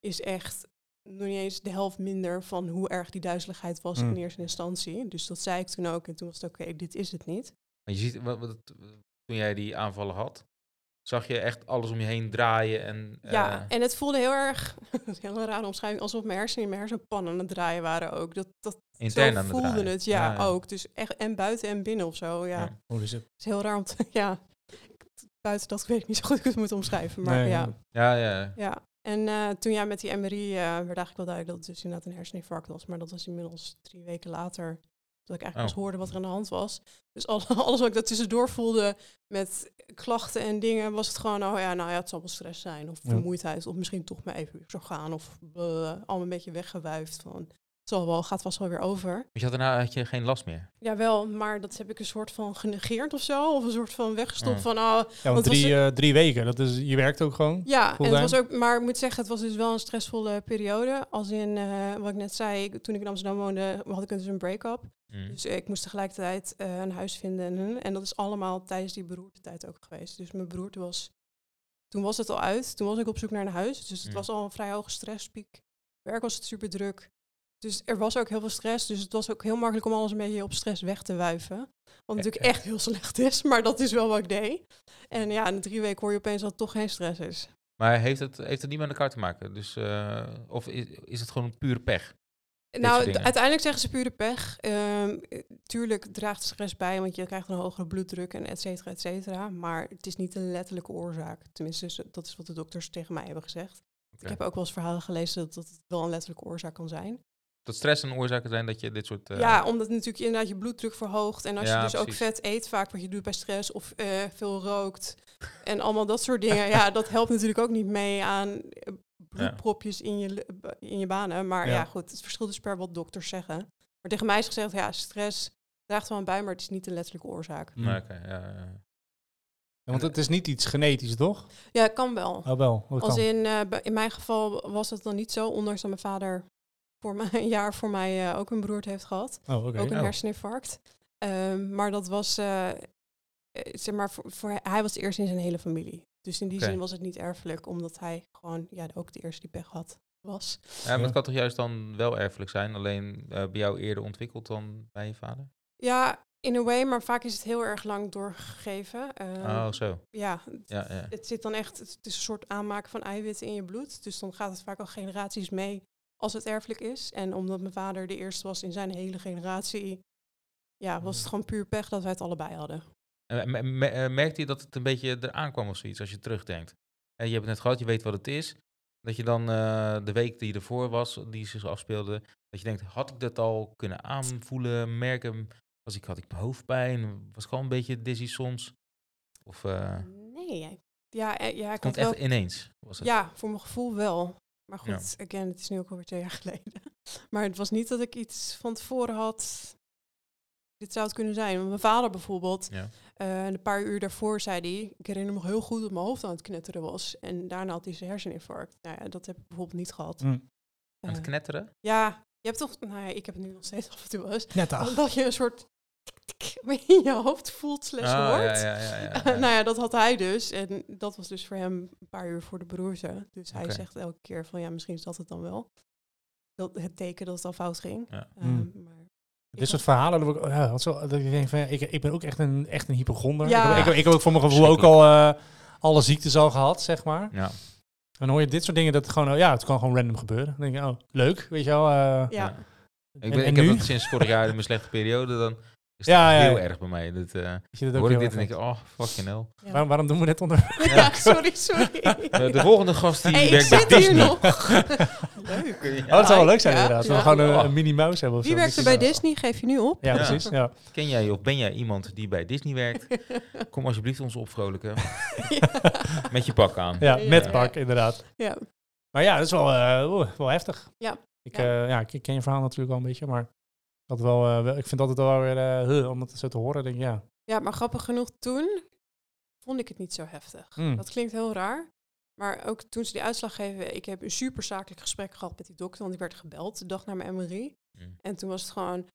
C: is echt nog niet eens de helft minder van hoe erg die duizeligheid was
B: Hmm.
C: in eerste instantie. Dus dat zei ik toen ook. En toen was het oké, dit is het niet.
A: Maar je ziet, wat, wat- toen jij die aanvallen had, zag je echt alles om je heen draaien en...
C: Ja,
A: eh,
C: en het voelde heel erg, dat is een hele rare omschrijving, alsof mijn hersenen in mijn hersenpannen aan het draaien waren ook. Dat, dat
A: intern
C: zo
A: aan het
C: voelde
A: draaien.
C: het, ja, ook. Dus echt en buiten en binnen of zo, ja.
A: Ja.
C: Het
B: Holy shit.
C: is heel raar om te, ja. Buiten dat weet ik niet zo goed hoe ik het moet omschrijven, maar
B: Nee,
C: ja.
A: Ja, ja.
C: ja. En eh, toen jij met die MRI eh, werd eigenlijk wel duidelijk dat het dus inderdaad een herseninfarct was, maar dat was inmiddels drie weken later dat ik eigenlijk
A: Oh.
C: pas hoorde wat er aan de hand was. Dus al- alles wat ik daartussendoor voelde met klachten en dingen, was het gewoon, oh ja, nou ja, het zal wel stress zijn of
B: Ja.
C: vermoeidheid of misschien toch maar even zo gaan of eh, allemaal een beetje weggewuifd van, het zal wel, gaat vast wel weer over.
A: Want je had daarna had je geen last meer.
C: Jawel, maar dat heb ik een soort van genegeerd of zo. Of een soort van weggestopt
A: Ja.
C: van, oh,
B: Ja, want
C: Wat was
B: drie, eh, drie weken, dat is, je werkt ook gewoon.
C: ja. En
B: Fulltime?
C: het was ook, maar ik moet zeggen, het was dus wel een stressvolle periode. Als in, eh, wat ik net zei, ik- toen ik in Amsterdam woonde, had ik dus een break-up.
A: Mm.
C: Dus ik moest tegelijkertijd eh, een huis vinden. En, en dat is allemaal tijdens die beroertetijd ook geweest. Dus mijn beroerte was... Toen was het al uit. Toen was ik op zoek naar een huis. Dus het
A: Mm.
C: was al een vrij hoge stresspiek. Werk was super druk. Dus er was ook heel veel stress. Dus het was ook heel makkelijk om alles een beetje op stress weg te wuiven. Wat natuurlijk echt heel slecht is. Maar dat is wel wat ik deed. En ja, na drie weken hoor je opeens dat het toch geen stress is.
A: Maar heeft het, heeft het niet met elkaar te maken? Dus, eh, of is, is het gewoon puur pech?
C: nou,
A: soort dingen.
C: uiteindelijk zeggen ze pure pech. Ehm, eh, tuurlijk draagt stress bij, want je krijgt een hogere bloeddruk en et cetera, et cetera. Maar het is niet de letterlijke oorzaak. Tenminste, ze- dat is wat de dokters tegen mij hebben gezegd. Ik
A: Oké.
C: heb ook wel eens verhalen gelezen dat, dat het wel een letterlijke oorzaak kan zijn.
A: Dat stress een oorzaak zijn dat je dit soort... eh,
C: ja, omdat natuurlijk inderdaad je bloeddruk verhoogt. En als
A: Ja,
C: je dus ook
A: precies.
C: vet eet, vaak wat je doet bij stress, of eh, veel rookt en allemaal dat soort dingen. ja, dat helpt natuurlijk ook niet mee aan eh, bloedpropjes in, je, lu- in je banen. Maar ja.
B: Ja.
C: goed, het verschilt dus per wat dokters zeggen. Maar tegen mij is gezegd, ja, stress draagt wel aan bij, maar het is niet de letterlijke oorzaak.
B: Mm.
A: nou, oké, ja, ja, ja.
B: Ja, want het is niet iets genetisch, toch?
C: Ja, kan wel.
B: Oh wel, dat
C: Als
B: kan.
C: in, eh, bij- in mijn geval was dat dan niet zo, ondanks dat mijn vader voor mij, een jaar voor mij eh, ook een broert heeft gehad.
B: Oh, oké.
C: Ook een
A: Oh.
C: herseninfarct. Ehm, maar dat was, eh, eh, zeg maar, voor, voor- hij was de eerste in zijn hele familie. Dus in die
A: Oké.
C: zin was het niet erfelijk, omdat hij gewoon ja, ook de eerste die pech had was.
A: Ja, maar het kan toch juist dan wel erfelijk zijn, alleen eh, bij jou eerder ontwikkeld dan bij je vader?
C: Ja, in a way, maar vaak is het heel erg lang doorgegeven. Ehm,
A: oh, zo.
C: Ja,
A: Ja, ja.
C: het zit dan echt, het is een soort aanmaken van eiwitten in je bloed. Dus dan gaat het vaak al generaties mee als het erfelijk is. En omdat mijn vader de eerste was in zijn hele generatie, ja, was het
A: Mm.
C: gewoon puur pech dat wij het allebei hadden.
A: En me- me- eh, merkte je dat het een beetje eraan kwam of zoiets, als je terugdenkt? En je hebt het net gehad, je weet wat het is. Dat je dan eh, de week die ervoor was, die zich afspeelde, dat je denkt, had ik dat al kunnen aanvoelen, merken? Was ik, had ik hoofdpijn? Was ik al een beetje dizzy soms? Of eh,
C: Nee, ja, ja, eh, ja ik
A: het komt
C: had wel
A: echt ineens? Was het?
C: Ja, voor mijn gevoel wel. Maar goed, again, het is nu ook alweer twee jaar geleden. Maar het was niet dat ik iets van tevoren had. Dit zou het kunnen zijn. Want Mijn vader bijvoorbeeld,
A: Ja.
C: eh, een paar uur daarvoor zei hij... Ik herinner me heel goed dat mijn hoofd aan het knetteren was. En daarna had hij zijn herseninfarct. Nou ja, dat heb ik bijvoorbeeld niet gehad.
B: Hm.
A: Aan het
C: Eh,
A: knetteren?
C: ja, je hebt toch... Nou ja, ik heb het nu nog steeds af en toe wel eens.
B: Net
A: Ah.
B: acht.
C: Dat je een soort... tik, tik in je hoofd voelt slash
A: Ah,
C: hoort.
A: ja, ja, ja, ja, ja.
C: nou ja, dat had hij dus. En dat was dus voor hem een paar uur voor de beroerte. Dus hij
A: Oké.
C: zegt elke keer van ja, misschien is dat het dan wel. Dat, het teken dat het al fout ging.
A: Ja.
C: Ehm,
B: Hmm.
C: maar
B: Dit soort verhalen, dat ik, ja, dat zo, dat ik denk van, ja, ik, ik ben ook echt een, echt een hypochonder.
C: Ja.
B: Ik, heb, ik, heb, ik heb ook voor mijn gevoel ook al eh, alle ziektes al gehad, zeg maar. En
A: Ja.
B: dan hoor je dit soort dingen, dat het gewoon, oh, ja, het kan gewoon random gebeuren. Dan denk je, oh, leuk, weet je wel. eh,
C: ja.
A: Ja. Ik,
B: En-
A: ben,
B: en
A: ik heb
B: nu?
A: dat sinds vorig jaar in mijn slechte periode. Dan is
B: Ja, ja,
A: heel
B: ja.
A: erg bij mij. Dat, eh
B: Dat je dat ook
A: hoor ik
B: heel
A: dit
B: erg
A: en denk ik,
B: hebt.
A: oh, fucking hell.
C: Ja.
B: waarom, waarom doen we dit onder?
C: Ja, sorry, sorry.
A: Eh, de volgende gast die
C: Hey, ik
A: werkt bij
C: zit hier
A: Disney.
C: nog. Leuk.
B: Oh, dat zou wel leuk zijn
C: Ja,
B: inderdaad.
C: ja.
B: Dat we gewoon
A: Ja.
B: een, een mini mouse hebben of
C: Wie
B: zo.
C: werkte bij
B: Misschien wel.
C: Disney? Geef je nu op?
B: Ja,
A: Oh. Ja.
B: precies. Ja.
A: Ken jij of ben jij iemand die bij Disney werkt? Kom alsjeblieft ons opvrolijken. Met je pak aan.
B: Ja,
C: Ja.
B: met pak inderdaad.
C: Ja.
B: Maar ja, dat is wel, eh, oeh, wel heftig.
C: Ja.
B: Ik,
C: Ja.
B: eh, ja, ik ken je verhaal natuurlijk wel een beetje, maar dat wel, eh, wel- ik vind altijd wel weer, eh, huh, om het zo te horen, denk ik, ja.
C: Ja, maar grappig genoeg, toen vond ik het niet zo heftig.
B: Hmm.
C: Dat klinkt heel raar. Maar ook toen ze die uitslag geven, ik heb een super zakelijk gesprek gehad met die dokter, want ik werd gebeld de dag na mijn MRI.
A: Hmm.
C: En toen was het gewoon,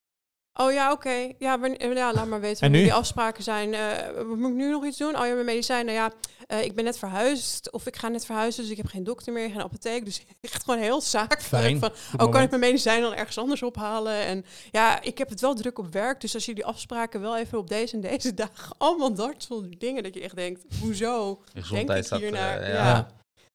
C: oh ja, oké, ja, wanne- eh, ja, laat maar weten
B: En
C: wanneer
B: nu?
C: die afspraken zijn. Eh, moet ik nu nog iets doen? Oh ja, mijn medicijnen, ja, eh, ik ben net verhuisd of ik ga net verhuizen, dus ik heb geen dokter meer, geen apotheek. Dus echt gewoon heel zakelijk
B: Fijn.
C: van,
B: Goed
C: ook Oh, kan ik
B: moment.
C: mijn medicijnen dan ergens anders ophalen? En ja, ik heb het wel druk op werk. Dus als jullie afspraken wel even op deze en deze dagen. Allemaal dat soort dingen. Dat je echt denkt, hoezo? Denk ik
A: Gezondheid staat eh,
C: hiernaar,
A: ja.
C: ja.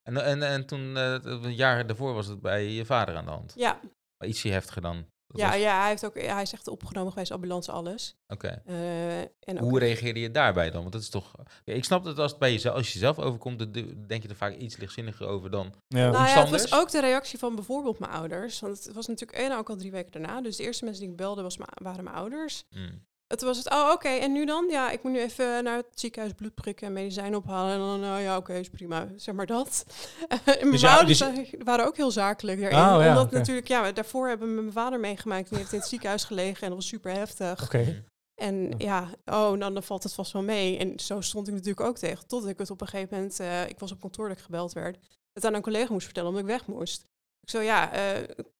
A: En, en, en toen, eh, een jaar daarvoor was het bij je vader aan de hand.
C: Ja,
A: Maar Ietsje heftiger dan. Dat
C: ja,
A: was-
C: ja hij, heeft ook, hij is echt opgenomen geweest, ambulance, alles.
A: Oké.
C: Eh, en ook,
A: Hoe reageerde je daarbij dan? Want dat is toch. Ja, ik snap dat als het bij jezelf, als je zelf overkomt, dan de- denk je er vaak iets lichtzinniger over dan.
B: Ja.
C: nou ja, het was
A: omstanders?
C: ook de reactie van bijvoorbeeld mijn ouders. Want het was natuurlijk één ook al drie weken daarna. Dus de eerste mensen die ik belde was mijn- waren mijn ouders.
A: Mm.
C: Het was het, oh oké, en nu dan? Ja, ik moet nu even naar het ziekenhuis bloed prikken en medicijnen ophalen. En dan, nou ja, oké, is prima. Zeg maar dat. mijn
B: Dus ja,
C: ouders
B: dus-
C: eh, waren ook heel zakelijk daarin.
B: Oh, ja,
C: omdat
B: oké.
C: natuurlijk, ja, daarvoor hebben we mijn vader meegemaakt. Die heeft in het ziekenhuis gelegen en dat was super heftig.
B: Oké.
C: En ja, oh, nou, dan valt het vast wel mee. En zo stond ik natuurlijk ook tegen. Totdat ik het op een gegeven moment, eh, ik was op kantoor dat ik gebeld werd. Het aan een collega moest vertellen omdat ik weg moest. Ik zo, ja, eh,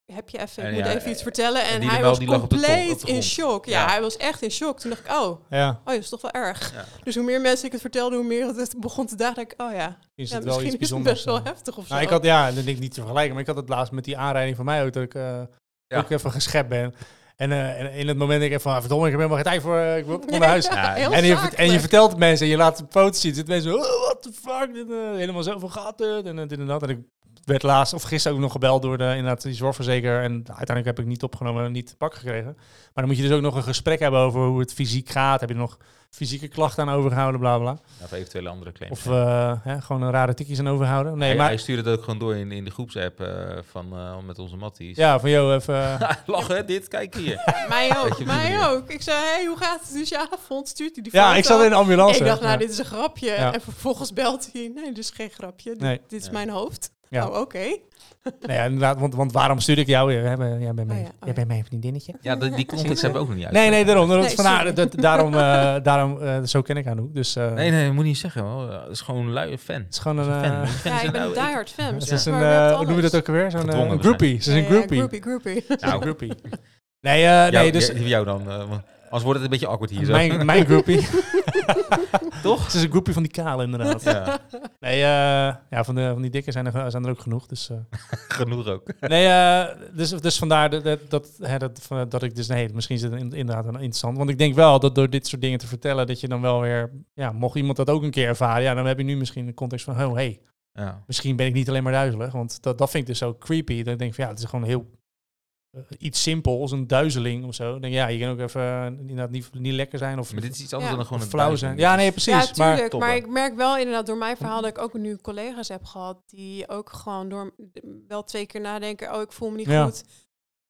C: heb je even, ik
A: En
C: moet
A: ja,
C: even iets
A: eh,
C: vertellen. En,
A: en die
C: hij
A: wel,
C: was
A: die lag op de grond- op de
C: compleet in
A: grond.
C: shock. Ja,
A: Ja.
C: hij was echt in shock. Toen dacht ik, oh,
B: Ja,
C: Oh, dat is toch wel erg.
A: Ja.
C: Dus hoe meer mensen ik het vertelde, hoe meer het- het begon te dagen. dacht ik, oh ja,
B: is
C: ja
B: het wel
C: misschien
B: iets
C: is het
B: bijzonders.
C: best wel
B: eh.
C: heftig of zo.
B: Nou, ik had, ja, dat denk ik niet te vergelijken, maar ik had het laatst met die aanrijding van mij ook, dat ik eh,
A: Ja.
B: ook even geschept ben. En, eh, en in het moment denk ik van, ah, verdomme, ik heb helemaal geen tijd voor, eh, ik wil ik moet
C: Ja,
B: naar huis.
C: ja,
A: En
C: heel
B: En je, vert- en je
C: zakelijk.
B: vertelt het mensen en je laat de foto's zien. Zitten mensen, oh, what the fuck, dit, eh, helemaal zoveel gaat het. En eh, dit en dat. En ik werd laatst, of gisteren ook nog gebeld door de, inderdaad, die zorgverzekeraar. En nou, uiteindelijk heb ik niet opgenomen en niet te pak gekregen. Maar dan moet je dus ook nog een gesprek hebben over hoe het fysiek gaat. Heb je er nog fysieke klachten aan overgehouden, bla bla. bla.
A: Ja, Of eventuele andere claims.
B: Of eh, hè, gewoon een rare tikjes aan overhouden. Nee,
A: hij,
B: maar
A: hij stuurde dat ook gewoon door in, in de groepsapp eh, van, eh, met onze matties.
B: ja, van jou even...
A: Lachen, dit, kijk hier.
C: Mij
A: Weet je
C: ook,
A: op die
C: mij
A: manier.
C: ook. Ik zei, hey, hoe gaat het? Dus ja, avond stuurt hij die
B: eh, ja,
C: foto.
B: ik zat in de ambulance.
C: Ik dacht, nou,
B: Ja.
C: dit is een grapje.
B: Ja.
C: En vervolgens belt hij, nee, dit is geen grapje. Dit,
B: Nee.
C: dit is
A: Ja.
C: mijn hoofd.
B: Ja.
C: Oh, oké.
B: Nee, ja, inderdaad, want, want waarom stuurde ik jou? Jij bent, jij bent,
C: Oh
B: mijn,
C: ja, oh
B: jij bent mijn vriendinnetje.
A: Ja, dat- die context hebben we ook nog niet uit.
B: eh, Nee, nee, daarom. daarom
C: Nee,
B: van, ah,
C: sorry.
B: dat, daarom, eh, daarom eh, zo ken ik Anouk. Dus eh,
A: Nee, nee, moet niet zeggen. hoor. Het is gewoon een luie fan.
B: het is gewoon een...
A: Fan.
B: eh,
A: Fan
C: Ja,
A: is
C: ik ben
A: nou-
C: een diehard fan.
B: ze
A: Ja.
B: is een,
C: Maar je hebt
B: eh, hoe noem je dat
C: alles.
B: ook alweer? Zo'n eh,
A: Gedwongen
B: een groupie. Ze is
C: Ja,
B: een
C: ja,
B: groupie.
C: groupie, groupie.
A: Nou,
B: groupie. Nee, eh,
A: jou,
B: nee, dus
A: ja, jou dan. eh, want anders wordt het een beetje awkward hier zo.
B: mijn, mijn groupie.
A: Toch?
B: Ze is een groupie van die kale, inderdaad.
A: Ja,
B: Nee, eh, ja, van, de, van die dikke zijn er, zijn er ook genoeg. Dus, eh.
A: genoeg ook.
B: Nee, eh, dus, dus vandaar dat, dat, dat, hè, dat, van- dat ik dus... Nee, misschien is het in- inderdaad een interessant. Want ik denk wel dat door dit soort dingen te vertellen... dat je dan wel weer... Ja, mocht iemand dat ook een keer ervaren... Ja, dan heb je nu misschien de context van... Oh, hey,
A: Ja.
B: misschien ben ik niet alleen maar duizelig. Want dat, dat vind ik dus zo creepy. Dat ik denk van ja, het is gewoon heel eh, iets simpels, een duizeling of zo. Ik denk ja, je kan ook even eh, inderdaad niet, niet lekker zijn of
A: Maar dit is iets anders
C: Ja.
A: dan gewoon een
B: flauw zijn.
A: duizend.
B: Ja, nee, precies.
C: ja,
B: maar
C: tuurlijk. Maar,
A: Toppen.
C: ik merk wel inderdaad door mijn verhaal dat ik ook nu collega's heb gehad die ook gewoon door wel twee keer nadenken, oh ik voel me niet
B: Ja.
C: goed.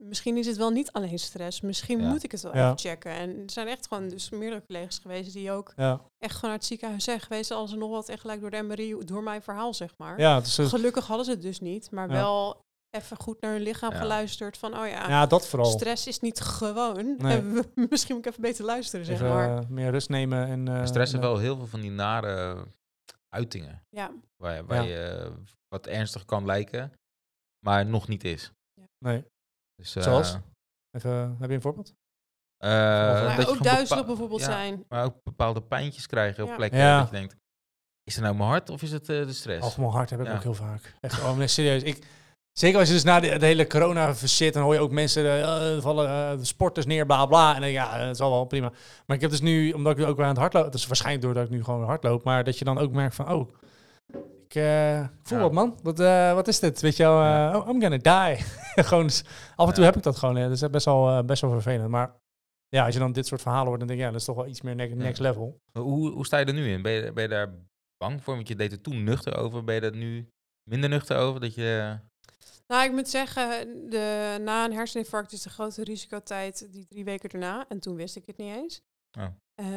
C: Misschien is het wel niet alleen stress. Misschien
A: Ja.
C: moet ik het wel
B: Ja.
C: even checken. En er zijn echt gewoon dus meerdere collega's geweest die ook
B: ja,
C: echt gewoon uit het ziekenhuis zijn geweest als er nog wat en gelijk door de MRI door mijn verhaal zeg maar.
B: ja, het is een-
C: Gelukkig hadden ze het dus niet, maar
B: Ja.
C: wel even goed naar hun lichaam
A: Ja.
C: geluisterd van oh ja,
B: ja, dat vooral.
C: stress is niet gewoon.
B: Nee.
C: En misschien moet ik even beter luisteren zeg
B: Even,
C: maar.
B: eh, meer rust nemen en eh,
A: Stress heeft
B: en, eh,
A: wel heel veel van die nare uitingen.
C: Ja.
A: Waar, waar
B: Ja.
A: je eh, wat ernstig kan lijken, maar nog niet is.
B: Nee,
A: Dus, eh,
B: Zoals? even, eh, heb je een voorbeeld?
A: eh,
B: Maar
A: dat
C: Maar
A: je
C: ook
A: gewoon
C: duizelig
A: bepaal-
C: bijvoorbeeld
A: ja,
C: zijn.
A: Maar ook bepaalde pijntjes krijgen op
C: Ja.
A: plekken
B: Ja.
A: dat je denkt, is het nou mijn hart of is het eh, de stress?
B: Algemeen hart heb ik
A: Ja.
B: ook heel vaak. Echt, oh nee, serieus. Ik, zeker als je dus na de, de hele corona zit, dan hoor je ook mensen eh, eh, vallen eh, de sporters neer, bla bla. En dan, ja, eh, het is al wel prima. Maar ik heb dus nu, omdat ik nu ook weer aan het hardlopen, dat is waarschijnlijk doordat ik nu gewoon hardloop, maar dat je dan ook merkt van, oh, ik eh, voel
A: Ja.
B: wat man. Wat, eh, wat is dit? Weet je wel, eh,
A: Ja.
B: oh, I'm gonna die. gewoon, dus af en toe
A: Ja.
B: heb ik dat gewoon. eh, dat is best wel, eh, best wel vervelend. Maar Ja, als je dan dit soort verhalen hoort, dan denk je, ja, dat is toch wel iets meer ne- next level.
A: Hoe, hoe sta je er nu in? Ben je, ben je daar bang voor? Want je deed er toen nuchter over. Ben je dat nu minder nuchter over? Dat je...
C: Nou, ik moet zeggen, de, na een herseninfarct is de grote risicotijd die drie weken daarna. En toen wist ik het niet eens.
A: Oh.
C: Eh,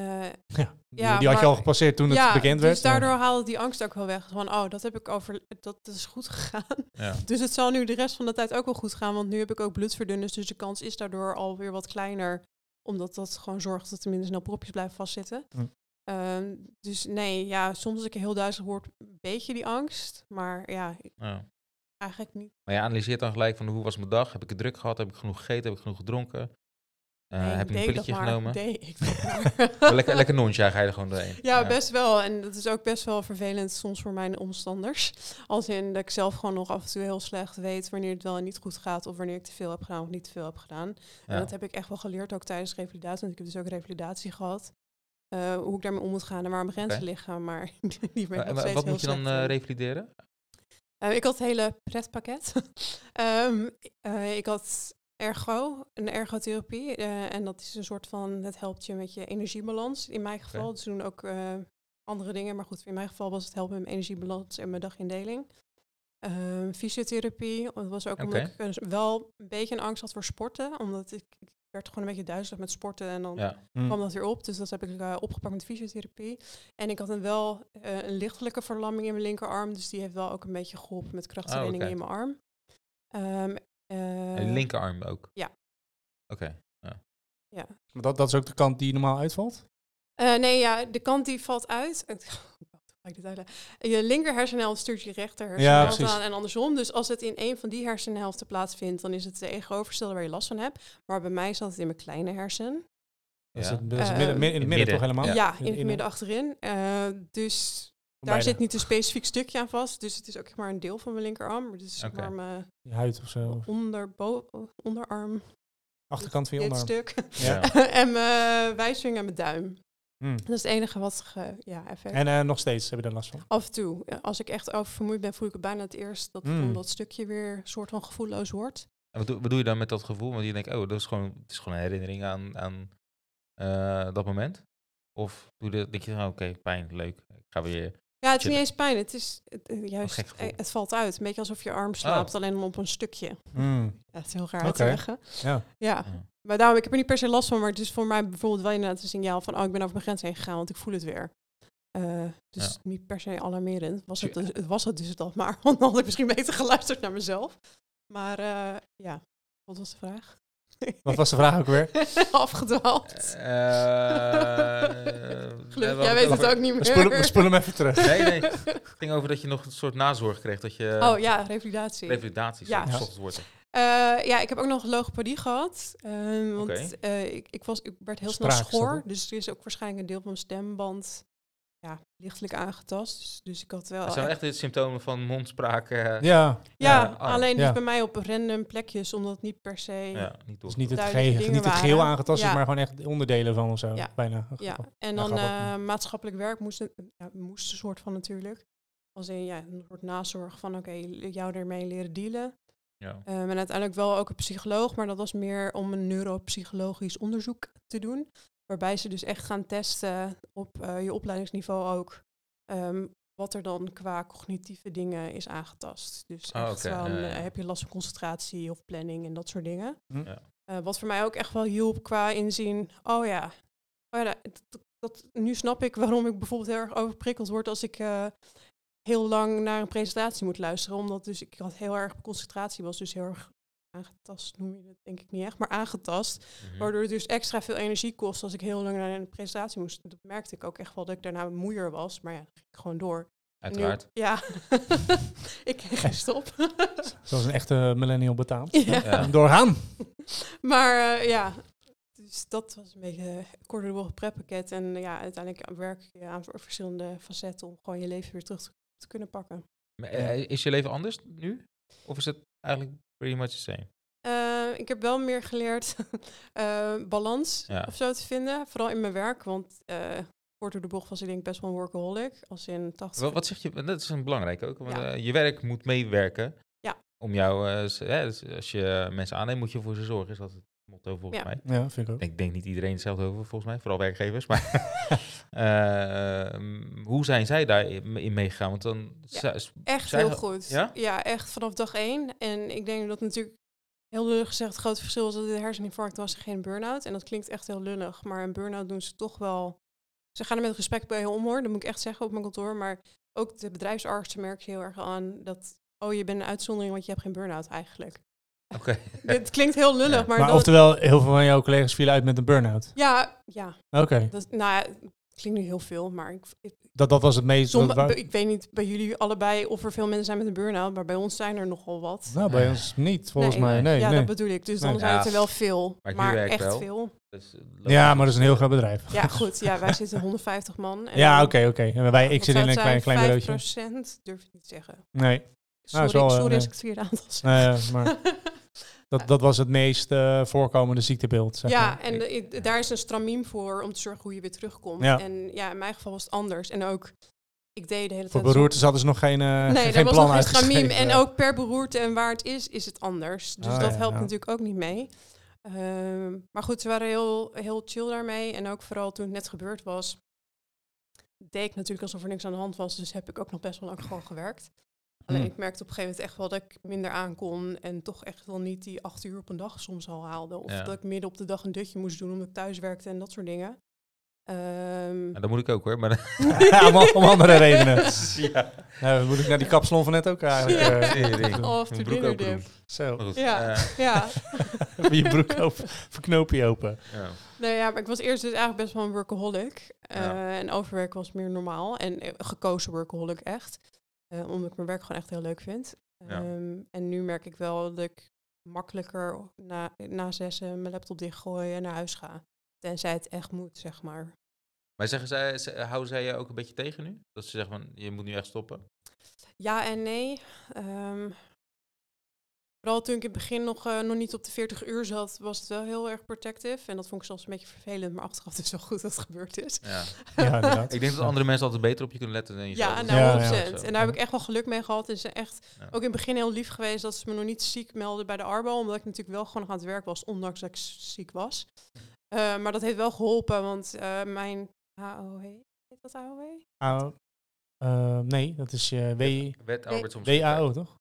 B: Ja, die
C: Ja,
B: had je
C: maar-
B: al gepasseerd toen
C: ja,
B: het bekend
C: dus
B: werd. maar-
C: daardoor haalde die angst ook wel weg. Van, oh, dat heb ik over, dat, dat is goed gegaan.
A: Ja.
C: Dus het zal nu de rest van de tijd ook wel goed gaan, want nu heb ik ook bloedverdunners, dus de kans is daardoor alweer wat kleiner, omdat dat gewoon zorgt dat er minder snel propjes blijven vastzitten.
B: Hm.
C: Ehm, dus nee, ja, soms als ik heel duizelig word, een beetje die angst, maar ja,
A: Ja.
C: eigenlijk niet.
A: Maar je analyseert dan gelijk van hoe was mijn dag? Heb ik het druk gehad? Heb ik genoeg gegeten? Heb ik genoeg gedronken? Eh,
C: Nee,
A: heb ik een
C: deed dat
A: pilletje
C: maar.
A: genomen?
C: Deed ik dat maar.
A: Lekker, lekker nonchaar ga je er gewoon doorheen.
C: Ja, best wel. En dat is ook best wel vervelend soms voor mijn omstanders. Als in dat ik zelf gewoon nog af en toe heel slecht weet wanneer het wel en niet goed gaat. Of wanneer ik te veel heb gedaan of niet te veel heb gedaan. En
A: Ja.
C: dat heb ik echt wel geleerd ook tijdens revalidatie. Want ik heb dus ook revalidatie gehad. eh, hoe ik daarmee om moet gaan en waar mijn grenzen
A: Oké.
C: liggen. Maar die ben ik
A: Maar-
C: nog
A: maar
C: steeds
A: wat
C: heel
A: moet je dan
C: slecht
A: eh,
C: in.
A: revalideren?
C: Eh, ik had het hele pretpakket. Ehm, eh, ik had ergo, een ergotherapie. eh, en dat is een soort van, het helpt je met je energiebalans. In mijn geval, ze doen ook eh, andere dingen. Maar goed, in mijn geval was het helpen met mijn energiebalans en mijn dagindeling. Ehm, fysiotherapie, dat was ook omdat
A: Oké.
C: ik eh, wel een beetje een angst had voor sporten. Omdat ik, ik werd gewoon een beetje duizelig met sporten. En dan
A: Ja.
B: Hm.
C: kwam dat weer op. Dus dat heb ik eh, opgepakt met fysiotherapie. En ik had een wel eh, een lichtelijke verlamming in mijn linkerarm. Dus die heeft wel ook een beetje geholpen met krachttraining
A: Oh, oké.
C: in mijn arm. Ehm, eh,
A: En linkerarm ook?
C: ja.
A: Oké.
B: Maar dat, dat is ook de kant die normaal uitvalt.
C: eh, nee, ja, de kant die valt uit. Hoe ga ik dit uitleggen? Je linker hersenhelft stuurt je rechter hersenhelft
B: precies.
C: aan en andersom. Dus als het in een van die hersenhelften plaatsvindt, dan is het de tegenovergestelde waar je last van hebt. Maar bij mij zat het in mijn kleine hersen.
B: Dat is
A: Ja.
B: het, dat is het
C: Eh,
B: midden, midden- in het midden toch
A: midden,
B: helemaal?
C: Ja, in
B: In-
C: het
B: in-
C: midden achterin. Eh, dus daar
B: Beide.
C: zit niet een specifiek stukje aan vast. Dus het is ook zeg maar een deel van mijn linkerarm. Maar dit is zeg
A: Oké.
C: maar mijn
B: Je huid of zo. of
C: onderbo- onderarm,
B: Achterkant van je
C: dit
B: onderarm.
C: stuk.
A: Ja.
B: Ja.
C: en mijn wijsvinger en mijn duim.
B: Hm.
C: Dat is het enige wat ge- ja, effect.
B: En eh, nog steeds heb je daar last van.
C: Af en toe, eh, als ik echt oververmoeid ben, voel ik het bijna het eerst dat
B: Hmm.
C: om dat stukje weer soort van gevoelloos wordt.
A: En wat, doe, wat doe je dan met dat gevoel? Want je denkt, oh, dat is gewoon, het is gewoon een herinnering aan, aan eh, dat moment. Of doe je dat, denk je, oh, oké, pijn, leuk. Ik ga weer...
C: Ja, het is
A: Chillen.
C: niet eens pijn. Het is het- eh, juist,
A: gek gevoel.
C: eh, het valt uit. Een beetje alsof je arm slaapt, alleen op een stukje.
B: Hm.
C: Ja, het is heel raar
B: Oké.
C: te zeggen.
B: Ja.
C: ja.
A: Ja.
C: Maar daarom, ik heb er niet per se last van, maar het is voor mij bijvoorbeeld wel inderdaad een signaal van, oh, ik ben over mijn grens heen gegaan, want ik voel het weer. Eh, dus
A: Ja.
C: niet per se alarmerend. Was het, dus- het was het dus het al maar, want dan had ik misschien beter geluisterd naar mezelf. Maar eh, ja, wat was de vraag?
B: Wat was de vraag ook weer?
C: Afgedwaald.
A: Eh,
C: Gelukkig,
A: we
C: jij
A: hebben
C: weet
A: het
C: het
A: over-
C: ook niet
B: We
C: meer.
B: spoelen, we spoelen hem even terug.
A: Nee, nee. Eh, Het ging over dat je nog een soort nazorg kreeg. Dat je
C: oh ja, revalidatie.
A: revalidatie,
C: Ja.
A: ja. zocht wordt.
C: Eh, ja, ik heb ook nog logopedie gehad. Ehm, want
A: Oké.
C: eh, ik, ik, was, ik werd heel snel
B: Spraak is dat,
C: schor.
B: hè?
C: Dus er is ook waarschijnlijk een deel van mijn stemband ja, lichtelijk aangetast. Dus, dus ik had wel...
A: Het zijn
C: echt-
A: echt de symptomen van mondspraak. eh,
B: Ja,
C: ja,
A: ja, arm.
C: alleen
B: Ja.
C: dus bij mij op random plekjes, omdat niet per se... Ja,
A: ja, niet door.
B: dus niet het,
C: Duidelijke
B: geheel,
C: dingen
B: niet het
C: waren.
B: geheel aangetast is,
C: Ja.
B: maar gewoon echt onderdelen van of zo.
C: Ja.
B: Bijna.
C: en
B: Ja,
C: dan
B: grappig.
C: eh, maatschappelijk werk moest, het- eh, ja, moest een soort van natuurlijk. Als in ja, een soort nazorg van, oké, jou ermee leren dealen.
A: Ja. Mhm.
C: Ehm, en uiteindelijk wel ook een psycholoog, maar dat was meer om een neuropsychologisch onderzoek te doen. Waarbij ze dus echt gaan testen op eh, je opleidingsniveau ook. ehm, wat er dan qua cognitieve dingen is aangetast. Dus
A: Ah,
C: echt
A: oké,
C: van,
A: ja, ja,
C: eh,
A: ja.
C: heb je last van concentratie of planning en dat soort dingen.
B: Hm.
A: Ja.
C: Eh, wat voor mij ook echt wel hielp qua inzien, oh ja, oh ja dat, dat- dat, nu snap ik waarom ik bijvoorbeeld heel erg overprikkeld word als ik eh, heel lang naar een presentatie moet luisteren. Omdat dus ik had heel erg concentratie, was dus heel erg aangetast, noem je dat denk ik niet echt, maar aangetast.
A: Mhm.
C: Waardoor het dus extra veel energie kost als ik heel lang naar een presentatie moest. Dat merkte ik ook echt wel dat ik daarna moeier was, maar ja, dan ging ik gewoon door. En nu-
A: Uiteraard.
C: ja, ik kreeg geen stop.
B: Zoals een echte millennial betaamt.
C: ja.
A: Ja.
B: Doorgaan.
C: Maar eh, ja, dus dat was een beetje eh, kort door de bocht pretpakket. En eh, ja, uiteindelijk werk je aan ver- verschillende facetten om gewoon je leven weer terug te- te kunnen pakken.
A: Maar, eh, Is je leven anders nu? Of is het eigenlijk pretty much the same?
C: Eh, ik heb wel meer geleerd eh, balans
A: Ja.
C: of zo te vinden. Vooral in mijn werk, want eh, kort door de bocht was ik denk ik best wel een workaholic. Als in 80...
A: Wa- Wat, zeg je? want Dat is een belangrijke ook. Want,
C: Ja.
A: eh, je werk moet meewerken.
C: Ja.
A: Om jou, eh, s- hè, dus als je mensen aanneemt, moet je voor ze zorgen. Is dat het? motto volgens
C: Ja.
A: mij.
B: Ja, vind ik ook.
A: Ik denk niet iedereen hetzelfde over, volgens mij. Vooral werkgevers. Maar eh, mm, hoe zijn zij daarin meegegaan? Want dan...
C: Ja.
A: zij- s-
C: Echt
A: Zij
C: heel
A: had-
C: goed.
A: ja?
C: echt vanaf dag één. En ik denk dat natuurlijk, heel lullig gezegd, het grote verschil is dat dit een herseninfarct was en geen burn-out. En dat klinkt echt heel lullig, maar een burn-out doen ze toch wel... Ze gaan er met respect bij om hoor, dat moet ik echt zeggen op mijn kantoor. Maar ook de bedrijfsartsen merk je heel erg aan dat... Oh, je bent een uitzondering, want je hebt geen burn-out eigenlijk.
A: Oké.
C: Dit klinkt heel lullig,
A: Ja.
C: maar,
B: Maar
C: dat...
B: oftewel, heel veel van jouw collega's vielen uit met een burn-out.
C: Ja, ja.
B: Oké,
C: Dat, nou ja, het klinkt nu heel veel, maar ik, ik,
B: dat, dat was het meest...
C: somm-
B: dat wa-
C: ik weet niet bij jullie allebei of er veel mensen zijn met een burn-out, maar bij ons zijn er nogal wat.
B: nou, bij ons niet, volgens
C: Nee,
B: mij. Nee,
C: ja,
B: nee.
C: dat bedoel ik. Dus dan
B: Nee.
C: zijn het
A: Ja.
C: er wel veel. Maar,
A: het werkt
C: echt
A: wel.
C: veel.
A: Dat is, eh,
B: ja, maar dat is een heel groot bedrijf.
C: Ja, goed. Ja, wij zitten 150 man. En
B: Ja,
C: dan-
B: oké, oké. En wij, ik
C: wat
B: zit
C: zou
B: in een klein,
C: het
B: klein
C: zijn?
B: bureautje.
C: 5% durf ik niet te zeggen.
B: Nee,
C: Sorry,
B: is wel, eh,
C: sorry
B: nee.
C: als ik het verkeerde aantal zeg.
B: nou ja, maar dat, dat was het meest eh, voorkomende ziektebeeld, zeg maar.
C: ja, en de- i- daar is een stramiem voor om te zorgen hoe je weer terugkomt.
B: Ja.
C: En ja, in mijn geval was het anders. En ook, ik deed de hele
B: Voor
C: tijd...
B: beroertes hadden ze nog geen, eh
C: Nee,
B: geen
C: daar was
B: plan
C: nog een stramiem.
B: uitgeschreven.
C: En ook per beroerte en waar het is, is het anders. Dus
B: Ah,
C: dat
B: ja,
C: helpt
B: ja.
C: natuurlijk ook niet mee. Ehm, maar goed, ze waren heel, heel chill daarmee. En ook vooral toen het net gebeurd was, deed ik natuurlijk alsof er niks aan de hand was. Dus heb ik ook nog best wel lang gewoon gewerkt. Alleen
B: Hmm.
C: ik merkte op een gegeven moment echt wel dat ik minder aan kon. En toch echt wel niet die acht uur op een dag soms al haalde. Of
A: Ja.
C: dat ik midden op de dag een dutje moest doen omdat ik thuis werkte en dat soort dingen. Ehm,
A: nou, dat moet ik ook hoor. Maar,
B: om, om andere redenen.
A: ja.
B: Nou, dan moet ik naar die kapsalon van net ook eigenlijk.
C: Ja.
B: eh,
A: Tering.
B: doen.
C: Of
A: Mijn
C: de
A: broek open
C: dinnerdip.
A: doen.
B: Zo,
A: Maar goed,
C: Ja.
A: eh,
C: ja,
B: je broek open, verknoop je open.
A: ja.
C: Nou ja, maar ik was eerst dus eigenlijk best wel een workaholic. Eh,
A: Ja.
C: En overwerk was meer normaal. En eh, gekozen workaholic echt. Eh, omdat ik mijn werk gewoon echt heel leuk vind.
A: Ja.
C: Ehm, en nu merk ik wel dat ik makkelijker na, na zessen mijn laptop dichtgooi en naar huis ga. Tenzij het echt moet, zeg maar.
A: Maar zeggen zij, ze- houden zij je ook een beetje tegen nu? Dat ze zeggen van, je moet nu echt stoppen?
C: Ja en nee. Ehm, vooral toen ik in het begin nog, eh, nog niet op de 40 uur zat, was het wel heel erg protective. En dat vond ik zelfs een beetje vervelend, maar achteraf dus wel goed dat het gebeurd is.
A: Ja.
B: Ja, inderdaad.
A: Ik denk dat andere mensen altijd beter op je kunnen letten dan jezelf.
C: Ja,
A: Dat
C: nou
A: is
B: Ja,
A: wel
B: ja.
C: 100%.
A: zo.
C: En daar heb ik echt wel geluk mee gehad. En ze echt
A: Ja.
C: ook in het begin heel lief geweest dat ze me nog niet ziek melden bij de Arbo. Omdat ik natuurlijk wel gewoon nog aan het werk was, ondanks dat ik s- ziek was. Eh, maar dat heeft wel geholpen, want eh, mijn AOW, heet dat AOW?
B: Ah, eh, nee, dat is je W-
A: Wet arbeidsomstandigheden.
B: WAO, toch?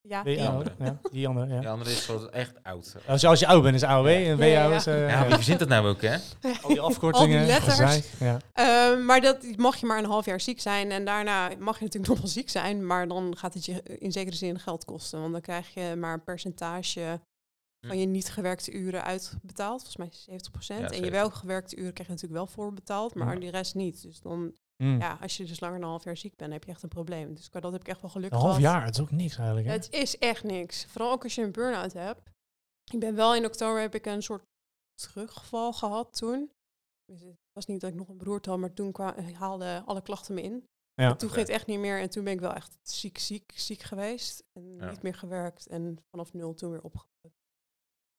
C: Ja.
A: die
B: WAO,
A: andere.
B: ja. Die andere, ja.
A: Ja, andere is wel echt oud. Ja,
B: Als, je, als je oud bent is AOW
A: Ja.
B: en
C: Ja, ja,
B: WAO
C: ja.
B: is... eh,
A: maar wie verzint dat nou ook, hè?
B: Al die afkortingen.
C: Al die letters.
B: gezeik, Ja.
C: Eh, maar dat mag je maar een half jaar ziek zijn. En daarna mag je natuurlijk nog wel ziek zijn. Maar dan gaat het je in zekere zin geld kosten. Want dan krijg je maar een percentage van je niet gewerkte uren uitbetaald. Volgens mij 70
A: Ja,
C: en je
A: 70.
C: wel gewerkte uren krijg je natuurlijk wel voorbetaald. Maar
B: Ja.
C: die rest niet. Dus dan,
B: Mm.
C: ja, als je dus langer dan een half jaar ziek bent, heb je echt een probleem. Dus qua dat heb ik echt wel geluk
B: Een
C: gehad.
B: half jaar, dat is ook niks eigenlijk.
C: Ja,
B: Hè?
C: Het is echt niks. Vooral ook als je een burn-out hebt. Ik ben wel in oktober heb ik een soort terugval gehad toen. Dus het was niet dat ik nog een broer had, maar toen kwa- haalde alle klachten me in.
B: Ja.
C: En toen ging het echt niet meer en toen ben ik wel echt ziek, ziek, ziek geweest. En
A: Ja.
C: niet meer gewerkt en vanaf nul toen weer opge.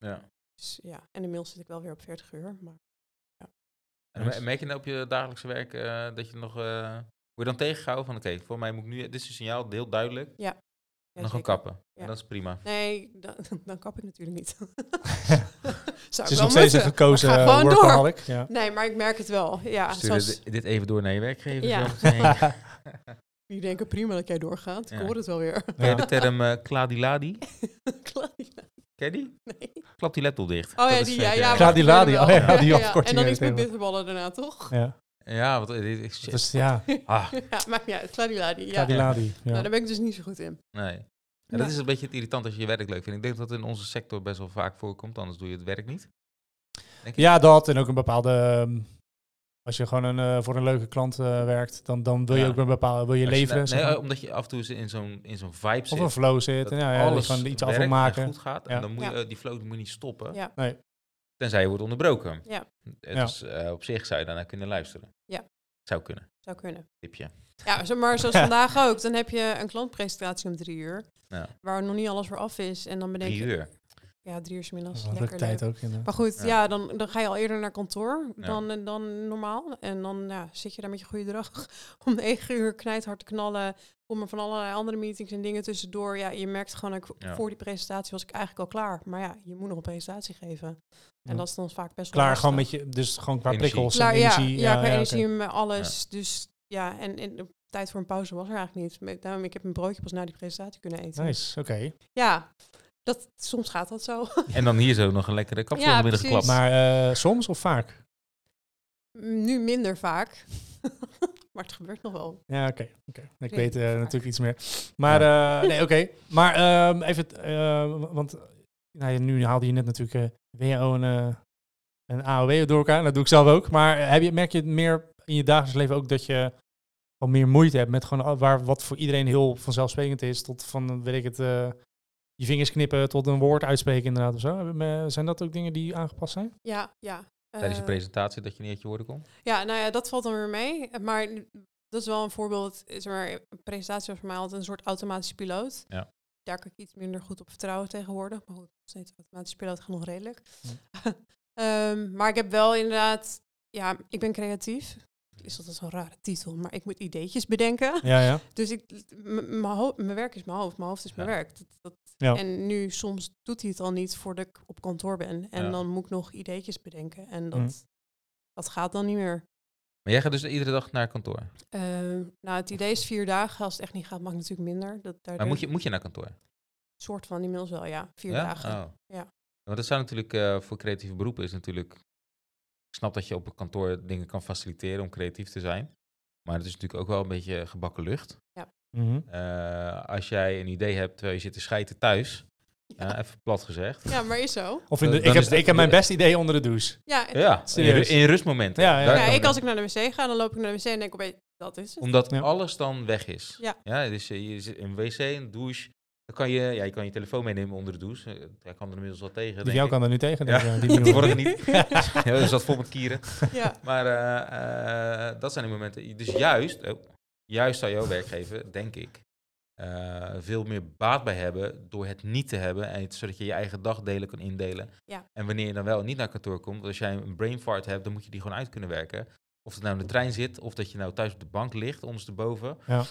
A: Ja.
C: Dus ja, en inmiddels zit ik wel weer op 40 uur. Maar
A: En me- merk je nou op je dagelijkse werk eh, dat je nog... eh, word je dan tegengehouden van, oké, voor mij moet ik nu... Dit is een signaal, heel duidelijk.
C: ja,
A: En dan gewoon
C: zeker.
A: kappen.
C: Ja.
A: En dat is prima.
C: Nee, dan, dan kap ik natuurlijk niet. Zou
B: Het
C: ik
B: is
C: wel
B: nog steeds een
C: moeten.
B: gekozen
C: Maar ga
B: eh,
C: gewoon door.
B: workaholic. Ja.
C: Nee, maar ik merk het wel. Ja,
A: Stuur
C: zoals
A: dit- dit even door naar je werkgever.
C: Ja.
A: zo meteen.
C: die denken prima dat jij doorgaat. Ik
A: Ja.
C: hoor het wel weer.
A: Ken je de term eh kladiladi?
C: Klein.
A: Ken je die?
C: Nee.
A: Klap die laptop dicht.
C: Oh
A: Dat
C: ja,
A: is
C: die,
A: vet,
C: ja, ja.
B: Graag die ladi,
C: wel.
B: oh ja, die afkorting
C: En dan
B: weet
C: iets
B: ik
C: met
B: wel.
C: bitterballen daarna, toch?
B: ja.
A: Ja, want dit is shit.
B: Dus ja,
A: Ah,
C: Ja, maakt niet uit. Kladiladi,
A: Kladiladi.
C: ja.
B: kadiladi.
C: Nou,
B: Ja.
C: daar ben ik dus niet zo goed in.
A: nee. En dat is een beetje het irritant als je je werk leuk vindt. Ik denk dat dat in onze sector best wel vaak voorkomt, anders doe je het werk niet.
B: ja, dat en ook een bepaalde... ehm, als je gewoon een, eh, voor een leuke klant eh, werkt, dan, dan wil je
A: Ja.
B: ook een bepaalde... Wil je
A: Als
B: leveren,
A: nou-
B: zeg
A: nee,
C: oh,
B: maar.
A: omdat je af en toe eens in zo'n in zo'n vibe
B: of
A: zit.
B: een flow zit.
A: dat
B: En ja, ja, alles van iets af
A: werkt
B: wil
A: en
B: maken.
A: goed gaat.
B: Ja.
A: En dan moet je,
C: Ja.
A: eh, die flow die moet je niet stoppen.
C: Ja.
B: Nee.
A: Tenzij je wordt onderbroken.
C: Ja.
A: Dus eh, op zich zou je daarna kunnen luisteren.
C: Ja.
A: Zou kunnen.
C: Zou kunnen.
A: Tipje.
C: Ja, zo- maar zoals vandaag ook. Dan heb je een klantpresentatie om drie uur.
A: Ja.
C: Waar nog niet alles voor af is. En dan bedenk
A: Nou, Drie
C: je...
A: uur.
C: ja, drie uur 's middags.
B: Wat een
C: Lekker leuk.
B: tijd ook. inderdaad.
C: Maar goed,
A: Ja.
C: ja, dan, dan ga je al eerder naar kantoor
A: Ja.
C: dan, eh, dan normaal. En dan ja, zit je daar met je goede dag om negen uur knijthard te knallen. Om er van allerlei andere meetings en dingen tussendoor. Ja, je merkt gewoon, dat ik,
A: Ja.
C: voor die presentatie was ik eigenlijk al klaar. Maar ja, je moet nog een presentatie geven. En
B: Ja.
C: dat is dan vaak best wel
B: Klaar gewoon
C: lastig.
B: met je, dus gewoon qua
A: Energie.
B: prikkels
C: Klaar,
B: en energie.
C: Ja, ja, qua
B: oké.
C: energie en alles. Dus ja, en, en de tijd voor een pauze was er eigenlijk niet. Maar Daarom, ik heb een broodje pas na die presentatie kunnen eten.
B: Nice, oké.
C: Ja, dat, soms gaat dat zo.
A: En dan hier zo nog een lekkere kapsel
C: Ja,
A: ja, midden geklapt.
C: precies.
A: Maar
B: Maar eh, soms of vaak?
C: Nu minder vaak. maar het gebeurt nog wel.
B: Ja, oké. oké. Ik
C: Nee,
B: weet eh,
C: vaak.
B: natuurlijk iets meer. Maar eh, nee, oké. Maar ehm, even, eh, want eh, nou, ja, nu haalde je net natuurlijk eh, WO en, eh en AOW door elkaar. Dat doe ik zelf ook. Maar eh, heb je, merk je het meer in je dagelijks leven ook dat je al meer moeite hebt met gewoon al- waar wat voor iedereen heel vanzelfsprekend is, tot van, weet ik het, eh, je vingers knippen tot een woord uitspreken inderdaad of zo. Heb je- eh, Zijn dat ook dingen die aangepast zijn?
C: Ja, ja.
A: Tijdens je
C: Eh,
A: presentatie dat je niet uit je woorden komt.
C: Ja, nou ja, dat valt dan weer mee. Eh, Maar n- dat is wel een voorbeeld. Is maar, een presentatie was voor mij altijd een soort automatische piloot.
A: Ja.
C: Daar kan ik iets minder goed op vertrouwen tegenwoordig. Maar goed, nog steeds automatische piloot gaat nog redelijk. Ehm, maar ik heb wel inderdaad... Ja, ik ben creatief. Is dat zo'n rare titel? Maar ik moet ideetjes bedenken.
B: Ja, ja.
C: Dus ik, m- mijn ho- mijn werk is mijn hoofd, mijn hoofd is mijn
A: Ja.
C: werk. Dat, dat,
B: Ja.
C: En nu soms doet hij het al niet voordat ik op kantoor ben. En
A: Ja. Mhm.
C: dan moet ik nog ideetjes bedenken. En dat,
B: Mm.
C: dat gaat dan niet meer.
A: Maar jij gaat dus iedere dag naar kantoor.
C: Eh, nou, het idee is vier dagen. Als het echt niet gaat, mag ik natuurlijk minder. Dat, daar
A: Maar moet je, moet je naar kantoor?
C: soort van inmiddels wel, ja. Vier
A: Ja?
C: dagen.
A: Oh.
C: Ja.
A: Want dat zou natuurlijk eh, voor creatieve beroepen is natuurlijk... Ik snap dat je op een kantoor dingen kan faciliteren om creatief te zijn. Maar het is natuurlijk ook wel een beetje gebakken lucht.
B: Mhm.
A: Eh, als jij een idee hebt terwijl je zit te schijten thuis,
C: Ja.
A: eh, even plat gezegd.
C: Ja, maar is
B: Of
C: zo.
B: in
A: Dan-
B: de,
A: Eh, dan
B: ik, heb,
A: is dat-
B: ik heb mijn beste idee onder de douche.
C: Ja, nou
A: Ja, in, ru-
B: Serieus?
A: in rustmomenten.
B: Ja, ja.
A: Daar
C: ja,
A: kan
C: ik
A: het.
C: als ik naar de wc ga, dan loop ik naar de wc en denk opeens, dat is het.
A: Omdat
B: Ja.
A: alles dan weg is.
C: Ja.
A: dus eh, je zit in een wc, een douche. Dan kan je, ja, je kan je telefoon meenemen onder de douche. Eh, Hij kan er inmiddels wel tegen.
B: Die
A: denk
B: jou
A: ik.
B: kan er nu tegen.
A: Ja.
B: dus, eh, die
A: De
B: nieuwe-
A: vorige niet. ja, dus dat zat vol met kieren.
C: Ja,
A: Maar eh, eh, dat zijn de momenten. Dus juist, oh, juist zou jouw werkgever, denk ik, eh, veel meer baat bij hebben door het niet te hebben. En het- zodat je je eigen dagdelen kan indelen.
C: Ja.
A: En wanneer je dan wel niet naar kantoor komt, als jij een brain fart hebt, dan moet je die gewoon uit kunnen werken. Of het nou in de trein zit, of dat je nou thuis op de bank ligt, ondersteboven.
C: ja,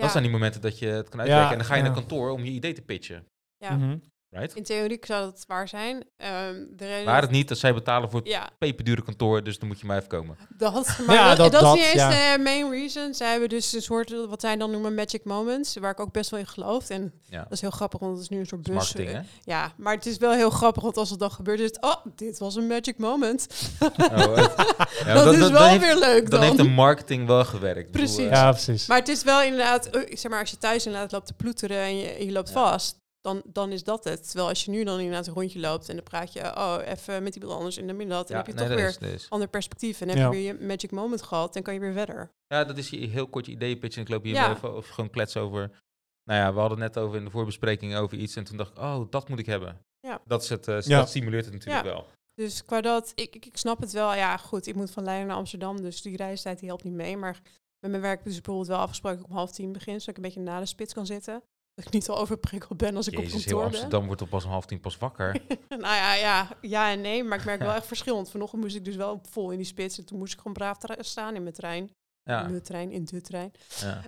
A: Dat zijn die momenten dat je het kan uitwerken.
B: Ja,
A: en dan ga je
B: ja.
A: naar kantoor om je idee te pitchen.
C: ja.
B: Mhm.
A: Right?
C: In theorie zou dat waar zijn. Ehm de reden
A: Waar het niet dat zij betalen voor het
C: ja,
A: peperdure kantoor, dus dan moet je maar even komen.
C: Dat, maar
B: Ja,
C: dat,
B: dat-
C: dat is
B: dat,
C: niet eens
B: ja.
C: de main reason. Zij hebben dus een soort, wat zij dan noemen, magic moments, waar ik ook best wel in geloof. En
A: Ja.
C: dat is heel grappig, want het is nu een soort bus.
A: Marketing, hè?
C: Ja, maar het is wel heel grappig, want als het dan gebeurt, is het, oh, dit was een magic moment.
A: Oh, het- ja, maar
C: dat, is
A: dan
C: wel
A: heeft-
C: weer leuk
A: Dan
C: dan.
A: heeft de marketing wel gewerkt. Ik bedoel,
C: Precies.
A: eh,
B: Ja, precies.
C: Maar het is wel inderdaad, eh, zeg maar, als je thuis inderdaad loopt te ploeteren en je, je loopt
A: Ja.
C: vast, dan, dan is dat het. Terwijl als je nu dan inderdaad een rondje loopt en dan praat je, oh, even met iemand anders en dan minder dat, dan
A: ja,
C: heb je
A: nee,
C: toch
A: dat is-
C: weer
A: dat is-
C: ander perspectief en heb
B: Ja.
C: je weer je magic moment gehad, dan kan je weer verder.
A: Ja, dat is je heel kort je ideeënpitch en ik loop hier
C: Ja.
A: even of gewoon klets over. Nou ja, we hadden het net over in de voorbespreking over iets en toen dacht ik, oh, dat moet ik hebben.
C: Ja.
A: Dat, is het, eh,
B: Ja.
A: dat stimuleert het natuurlijk wel.
C: Dus qua dat, ik, ik, ik snap het wel. Ja, goed, ik moet van Leiden naar Amsterdam, dus die reistijd die helpt niet mee. Maar met mijn werk is bijvoorbeeld wel afgesproken dat ik om half tien begin, zodat ik een beetje na de spits kan zitten. Dat ik niet al overprikkeld ben als ik op
A: Jezus, heel
C: kantoor
A: Amsterdam wordt op pas om half tien pas wakker.
C: ben. nou ja, ja, ja en nee, maar ik merk wel echt verschil. Want vanochtend moest ik dus wel vol in die spits en toen moest ik gewoon braaf tra- staan in mijn trein.
A: ja,
C: In de trein, in de trein.
A: ja.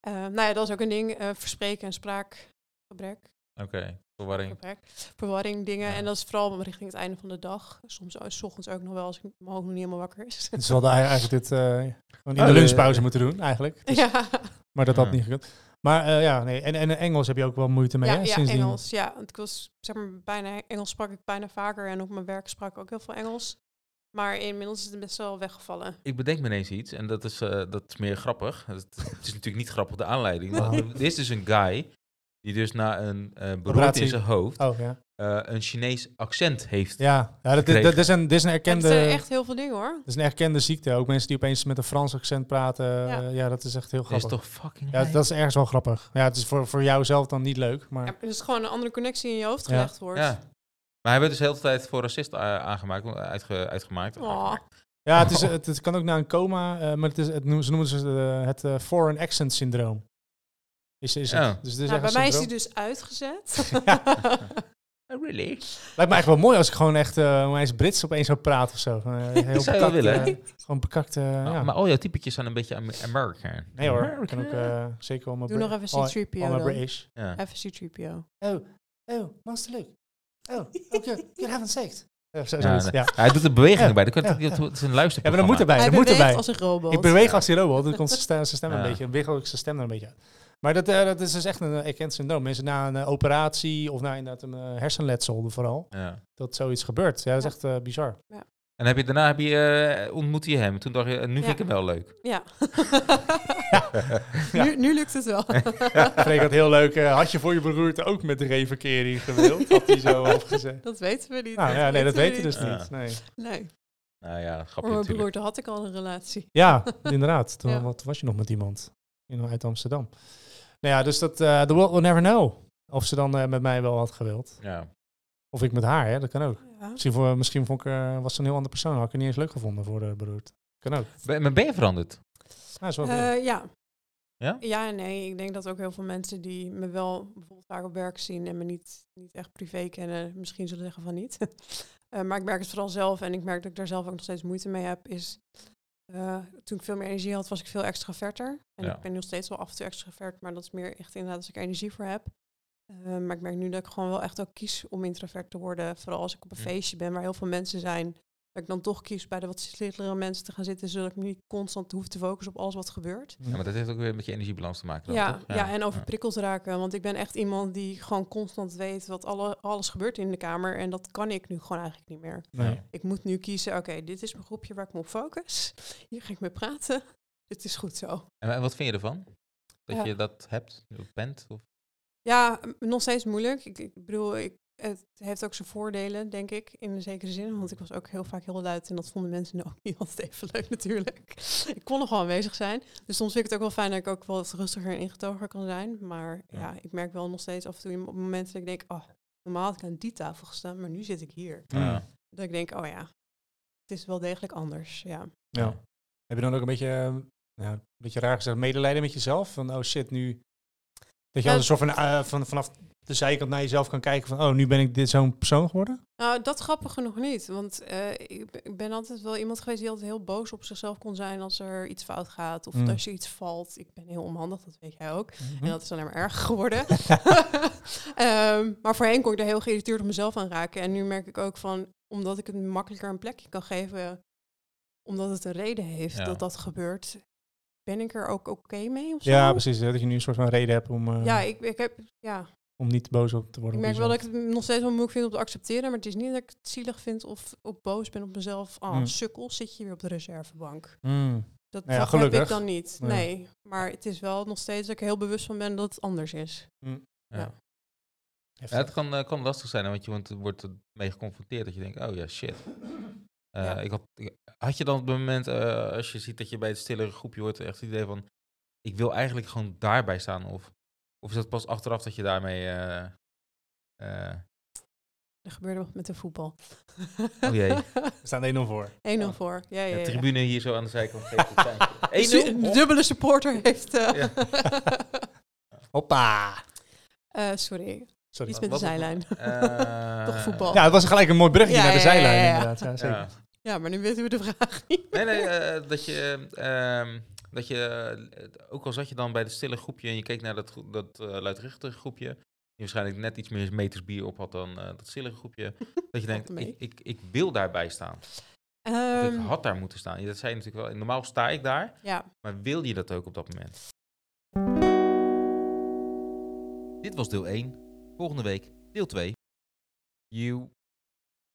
C: Eh, nou ja, dat is ook een ding. eh, verspreken en spraakgebrek.
A: oké. Verwarring.
C: Gebrek. Verwarring, dingen.
A: Ja.
C: En dat is vooral richting het einde van de dag. Soms eh, s ochtends ook nog wel, als ik mijn hoofd nog niet helemaal wakker is.
B: Dus we hadden eigenlijk dit eh, gewoon in
A: Oh,
B: de
A: de-
B: lunchpauze moeten doen, eigenlijk.
C: Ja,
B: Maar dat had
A: Ja.
B: niet gekund. Maar eh, ja, nee. En, en Engels heb je ook wel moeite mee,
C: ja,
B: hè?
C: ja
B: sindsdien.
C: Engels. Ja, want ik was zeg maar bijna Engels sprak ik bijna vaker en op mijn werk sprak ik ook heel veel Engels. Maar inmiddels is het best wel weggevallen.
A: Ik bedenk me ineens iets en dat is, eh, dat is meer grappig. Het is natuurlijk niet grappig, de aanleiding. Maar
B: Oh.
A: er is dus een guy die dus na een eh beroerte in
B: Operatie.
A: zijn hoofd
B: Oh, ja.
A: eh, een Chinees accent heeft.
B: Ja, ja dat, dat, dat is een, dit is een
C: En het
B: erkende...
C: zijn echt heel veel dingen hoor.
B: dat is een erkende ziekte. Ook mensen die opeens met een Frans accent praten. eh, Ja,
C: Ja.
B: dat is echt heel
A: Dat is
B: grappig.
A: toch fucking
B: Ja, dat is ergens wel grappig. Ja, het is voor, voor jou zelf dan niet leuk, maar...
C: Ja, maar er is gewoon een andere connectie in je hoofd
B: Ja.
C: gelegd wordt.
A: Ja. Maar hij werd dus de hele tijd voor racist eh, aangemaakt, uitge- uitgemaakt.
C: Oh.
B: Ja, het, is, het, het kan ook naar een coma, eh, maar het is, het, noemen- ze noemen het, eh, het eh, foreign accent syndroom. Is, is het.
A: Ja.
B: Dus het is
C: Nou,
B: echt
C: bij
B: een
C: mij is die
B: syndroom.
C: dus uitgezet.
A: Oh, really?
B: Lijkt me eigenlijk wel mooi als ik gewoon echt eh eens Brits opeens zou praten of zo. Van, eh,
A: zou
B: heel
A: je wel
B: bekakt,
A: willen, hè?
B: eh, gewoon bekakte.
A: Nou,
B: ja.
A: Maar al jouw typetjes zijn een beetje Amer- American.
B: Nee hoor, ik
A: American.
B: kan ook eh, zeker wel mijn
C: Doe nog even
B: all-
C: C-3PO
B: all my
C: dan.
B: British.
A: Ja.
C: Even C-3PO.
B: Oh, oh, Master Luke. Oh, okay, you haven't sex. Ja, zo,
A: Ja,
B: zoiets,
A: nee.
B: ja.
A: Hij doet er beweging
B: Ja,
A: bij. Dat kan-
B: ja,
A: dat-
B: ja.
A: dat is een
B: ja, maar dat
A: luisterprogramma.
B: moet erbij.
C: Hij
B: Dat moet
C: beweegt
B: erbij.
C: als een robot.
B: Ik beweeg als die robot, dan komt zijn stem, zijn stem
A: Ja.
B: een beetje, wiggel ik zijn stem er een beetje uit. Maar dat, eh, dat is dus echt een eh, erkend syndroom. Mensen na een eh, operatie of na inderdaad een eh, hersenletsel vooral,
A: Ja.
B: dat zoiets gebeurt. Ja, dat is echt eh, bizar.
A: En heb je, daarna heb je, eh, ontmoette je hem. Toen dacht je, eh, nu vind ik hem wel leuk.
C: Ja. Nu, nu lukt het wel.
B: Ik vind dat heel leuk. eh, had je voor je beroerte ook met de reverkering gewild? Had hij zo opgezegd.
C: dat weten we niet.
B: Nou ja, nee, dat
C: weten
B: weet
C: we
B: je dus
A: niet. Ja.
B: niet. Nee.
C: niet. Nee.
A: Nou ja,
C: Voor
A: grapje
C: mijn
A: natuurlijk.
C: broer had ik al een relatie.
B: Ja, inderdaad. Toen
C: Ja.
B: wat was je nog met iemand in, uit Amsterdam. Nou ja, dus dat, eh the world will never know. Of ze dan eh, met mij wel had gewild.
A: Ja.
B: Of ik met haar, hè, dat kan ook.
C: Ja.
B: Misschien, voor, misschien vond ik, eh, was ze een heel andere persoon. Had ik het niet eens leuk gevonden voor de beroerd. Kan ook.
A: Ben, maar ben je veranderd?
B: Ja, is wel goed.
C: Eh, ja.
A: Ja?
C: Ja en nee. Ik denk dat ook heel veel mensen die me wel bijvoorbeeld vaak op werk zien en me niet, niet echt privé kennen, misschien zullen zeggen van niet. Eh, maar ik merk het vooral zelf en ik merk dat ik daar zelf ook nog steeds moeite mee heb, is eh, toen ik veel meer energie had, was ik veel extraverter. En
A: Ja.
C: ik ben nog steeds wel af en toe extravert, maar dat is meer echt inderdaad als ik er energie voor heb. Eh, maar ik merk nu dat ik gewoon wel echt ook kies om introvert te worden. Vooral als ik op een
A: Hm.
C: feestje ben waar heel veel mensen zijn. Dat ik dan toch kies bij de wat stillere mensen te gaan zitten, zodat ik me niet constant hoef te focussen op alles wat gebeurt.
A: Ja, maar dat heeft ook weer met je energiebalans te maken. dan,
C: Ja,
A: toch?
C: ja. en overprikkeld raken. Want ik ben echt iemand die gewoon constant weet wat alle, alles gebeurt in de kamer. En dat kan ik nu gewoon eigenlijk niet meer.
B: nee.
A: ja.
C: Ik moet nu kiezen, oké, dit is mijn groepje waar ik me op focus. Hier ga ik mee praten. Het is goed zo.
A: En, en wat vind je ervan? Dat
C: Ja.
A: je dat hebt, of bent? Of?
C: Ja, m- nog steeds moeilijk. Ik, ik bedoel, ik, het heeft ook zijn voordelen, denk ik, in een zekere zin. Want ik was ook heel vaak heel luid en dat vonden mensen ook niet altijd even leuk natuurlijk. Ik kon nog wel aanwezig zijn. Dus soms vind ik het ook wel fijn dat ik ook wat rustiger en ingetogen kan zijn. Maar
A: Ja.
C: ja. ik merk wel nog steeds af en toe in- op momenten dat ik denk, oh, normaal had ik aan die tafel gestaan, maar nu zit ik hier.
A: Ja.
C: Dat ik denk, oh ja, het is wel degelijk anders. Ja,
B: Ja. Heb je dan ook een beetje, eh, ja, een beetje raar gezegd, medelijden met jezelf? Van, oh shit, nu... Dat je
C: Ja.
B: als een soort van, eh, van, vanaf de zijkant naar jezelf kan kijken van... Oh, nu ben ik dit zo'n persoon geworden?
C: Nou, dat grappig genoeg niet. Want eh, ik, b- ik ben altijd wel iemand geweest die altijd heel boos op zichzelf kon zijn als er iets fout gaat. Of
B: Mm. Hm?
C: als je iets valt. Ik ben heel onhandig, dat weet jij ook. En dat is alleen maar erger geworden. Ehm, maar voorheen kon ik daar heel geïrriteerd op mezelf aan raken. En nu merk ik ook van, omdat ik het makkelijker een plekje kan geven, omdat het een reden heeft
A: Ja.
C: dat dat gebeurt, ben ik er ook oké mee of zo?
B: Ja, precies. hè, Dat je nu een soort van reden hebt om, eh,
C: Ja, ik, ik heb, ja,
B: om niet boos op te worden.
C: ik
B: op
C: merk wel
B: jezelf.
C: dat ik het nog steeds wel moeilijk vind om te accepteren. Maar het is niet dat ik het zielig vind of, of boos ben op mezelf. Ah,
B: Hmm.
C: sukkel, zit je weer op de reservebank.
B: Mm.
C: Dat,
B: Nou ja,
C: dat heb
B: gelukkig.
C: ik dan niet.
B: Ja.
C: Nee, maar het is wel nog steeds dat ik er heel bewust van ben dat het anders is.
A: Ja, het kan, eh, kan lastig zijn, hè, want je wordt, wordt ermee geconfronteerd dat je denkt, oh ja, shit. Eh,
C: Ja.
A: ik had, ik- had je dan op het moment, eh, als je ziet dat je bij het stillere groepje hoort, echt het idee van, ik wil eigenlijk gewoon daarbij staan? Of, of is dat pas achteraf dat je daarmee... eh, eh,
C: Er gebeurde wat met de voetbal.
A: Oh jee.
B: We staan er enorm voor.
C: 1-0 voor. Ja, ja,
A: ja,
C: ja.
A: tribune hier zo aan de zijkant geeft het zijn.
C: Een su- een
A: 1-0.
C: dubbele supporter heeft... eh,
A: Ja.
B: Hoppa!
C: eh, sorry,
B: Sorry.
C: iets met de
A: was het?
C: zijlijn.
A: Eh,
C: Toch voetbal.
B: Ja, het was gelijk een mooi bruggetje
C: Ja,
B: naar de
C: ja, ja,
B: zijlijn
C: ja, ja.
B: inderdaad. Ja, zeker.
A: Ja.
C: Ja, maar nu weten we de vraag niet.
A: Nee, nee, eh, dat je, ehm, dat je eh, ook al zat je dan bij het stille groepje en je keek naar dat, gro- dat eh, luidruchtige groepje, die waarschijnlijk net iets meer meters bier op had dan eh, dat stille groepje, dat je denkt,
C: mee.
A: ik, ik, ik wil daarbij staan. Of
C: Ehm,
A: ik had daar moeten staan. Ja, Dat zei je natuurlijk wel. Normaal sta ik daar,
C: ja,
A: maar wil je dat ook op dat moment? Dit was deel 1. Volgende week deel 2. You.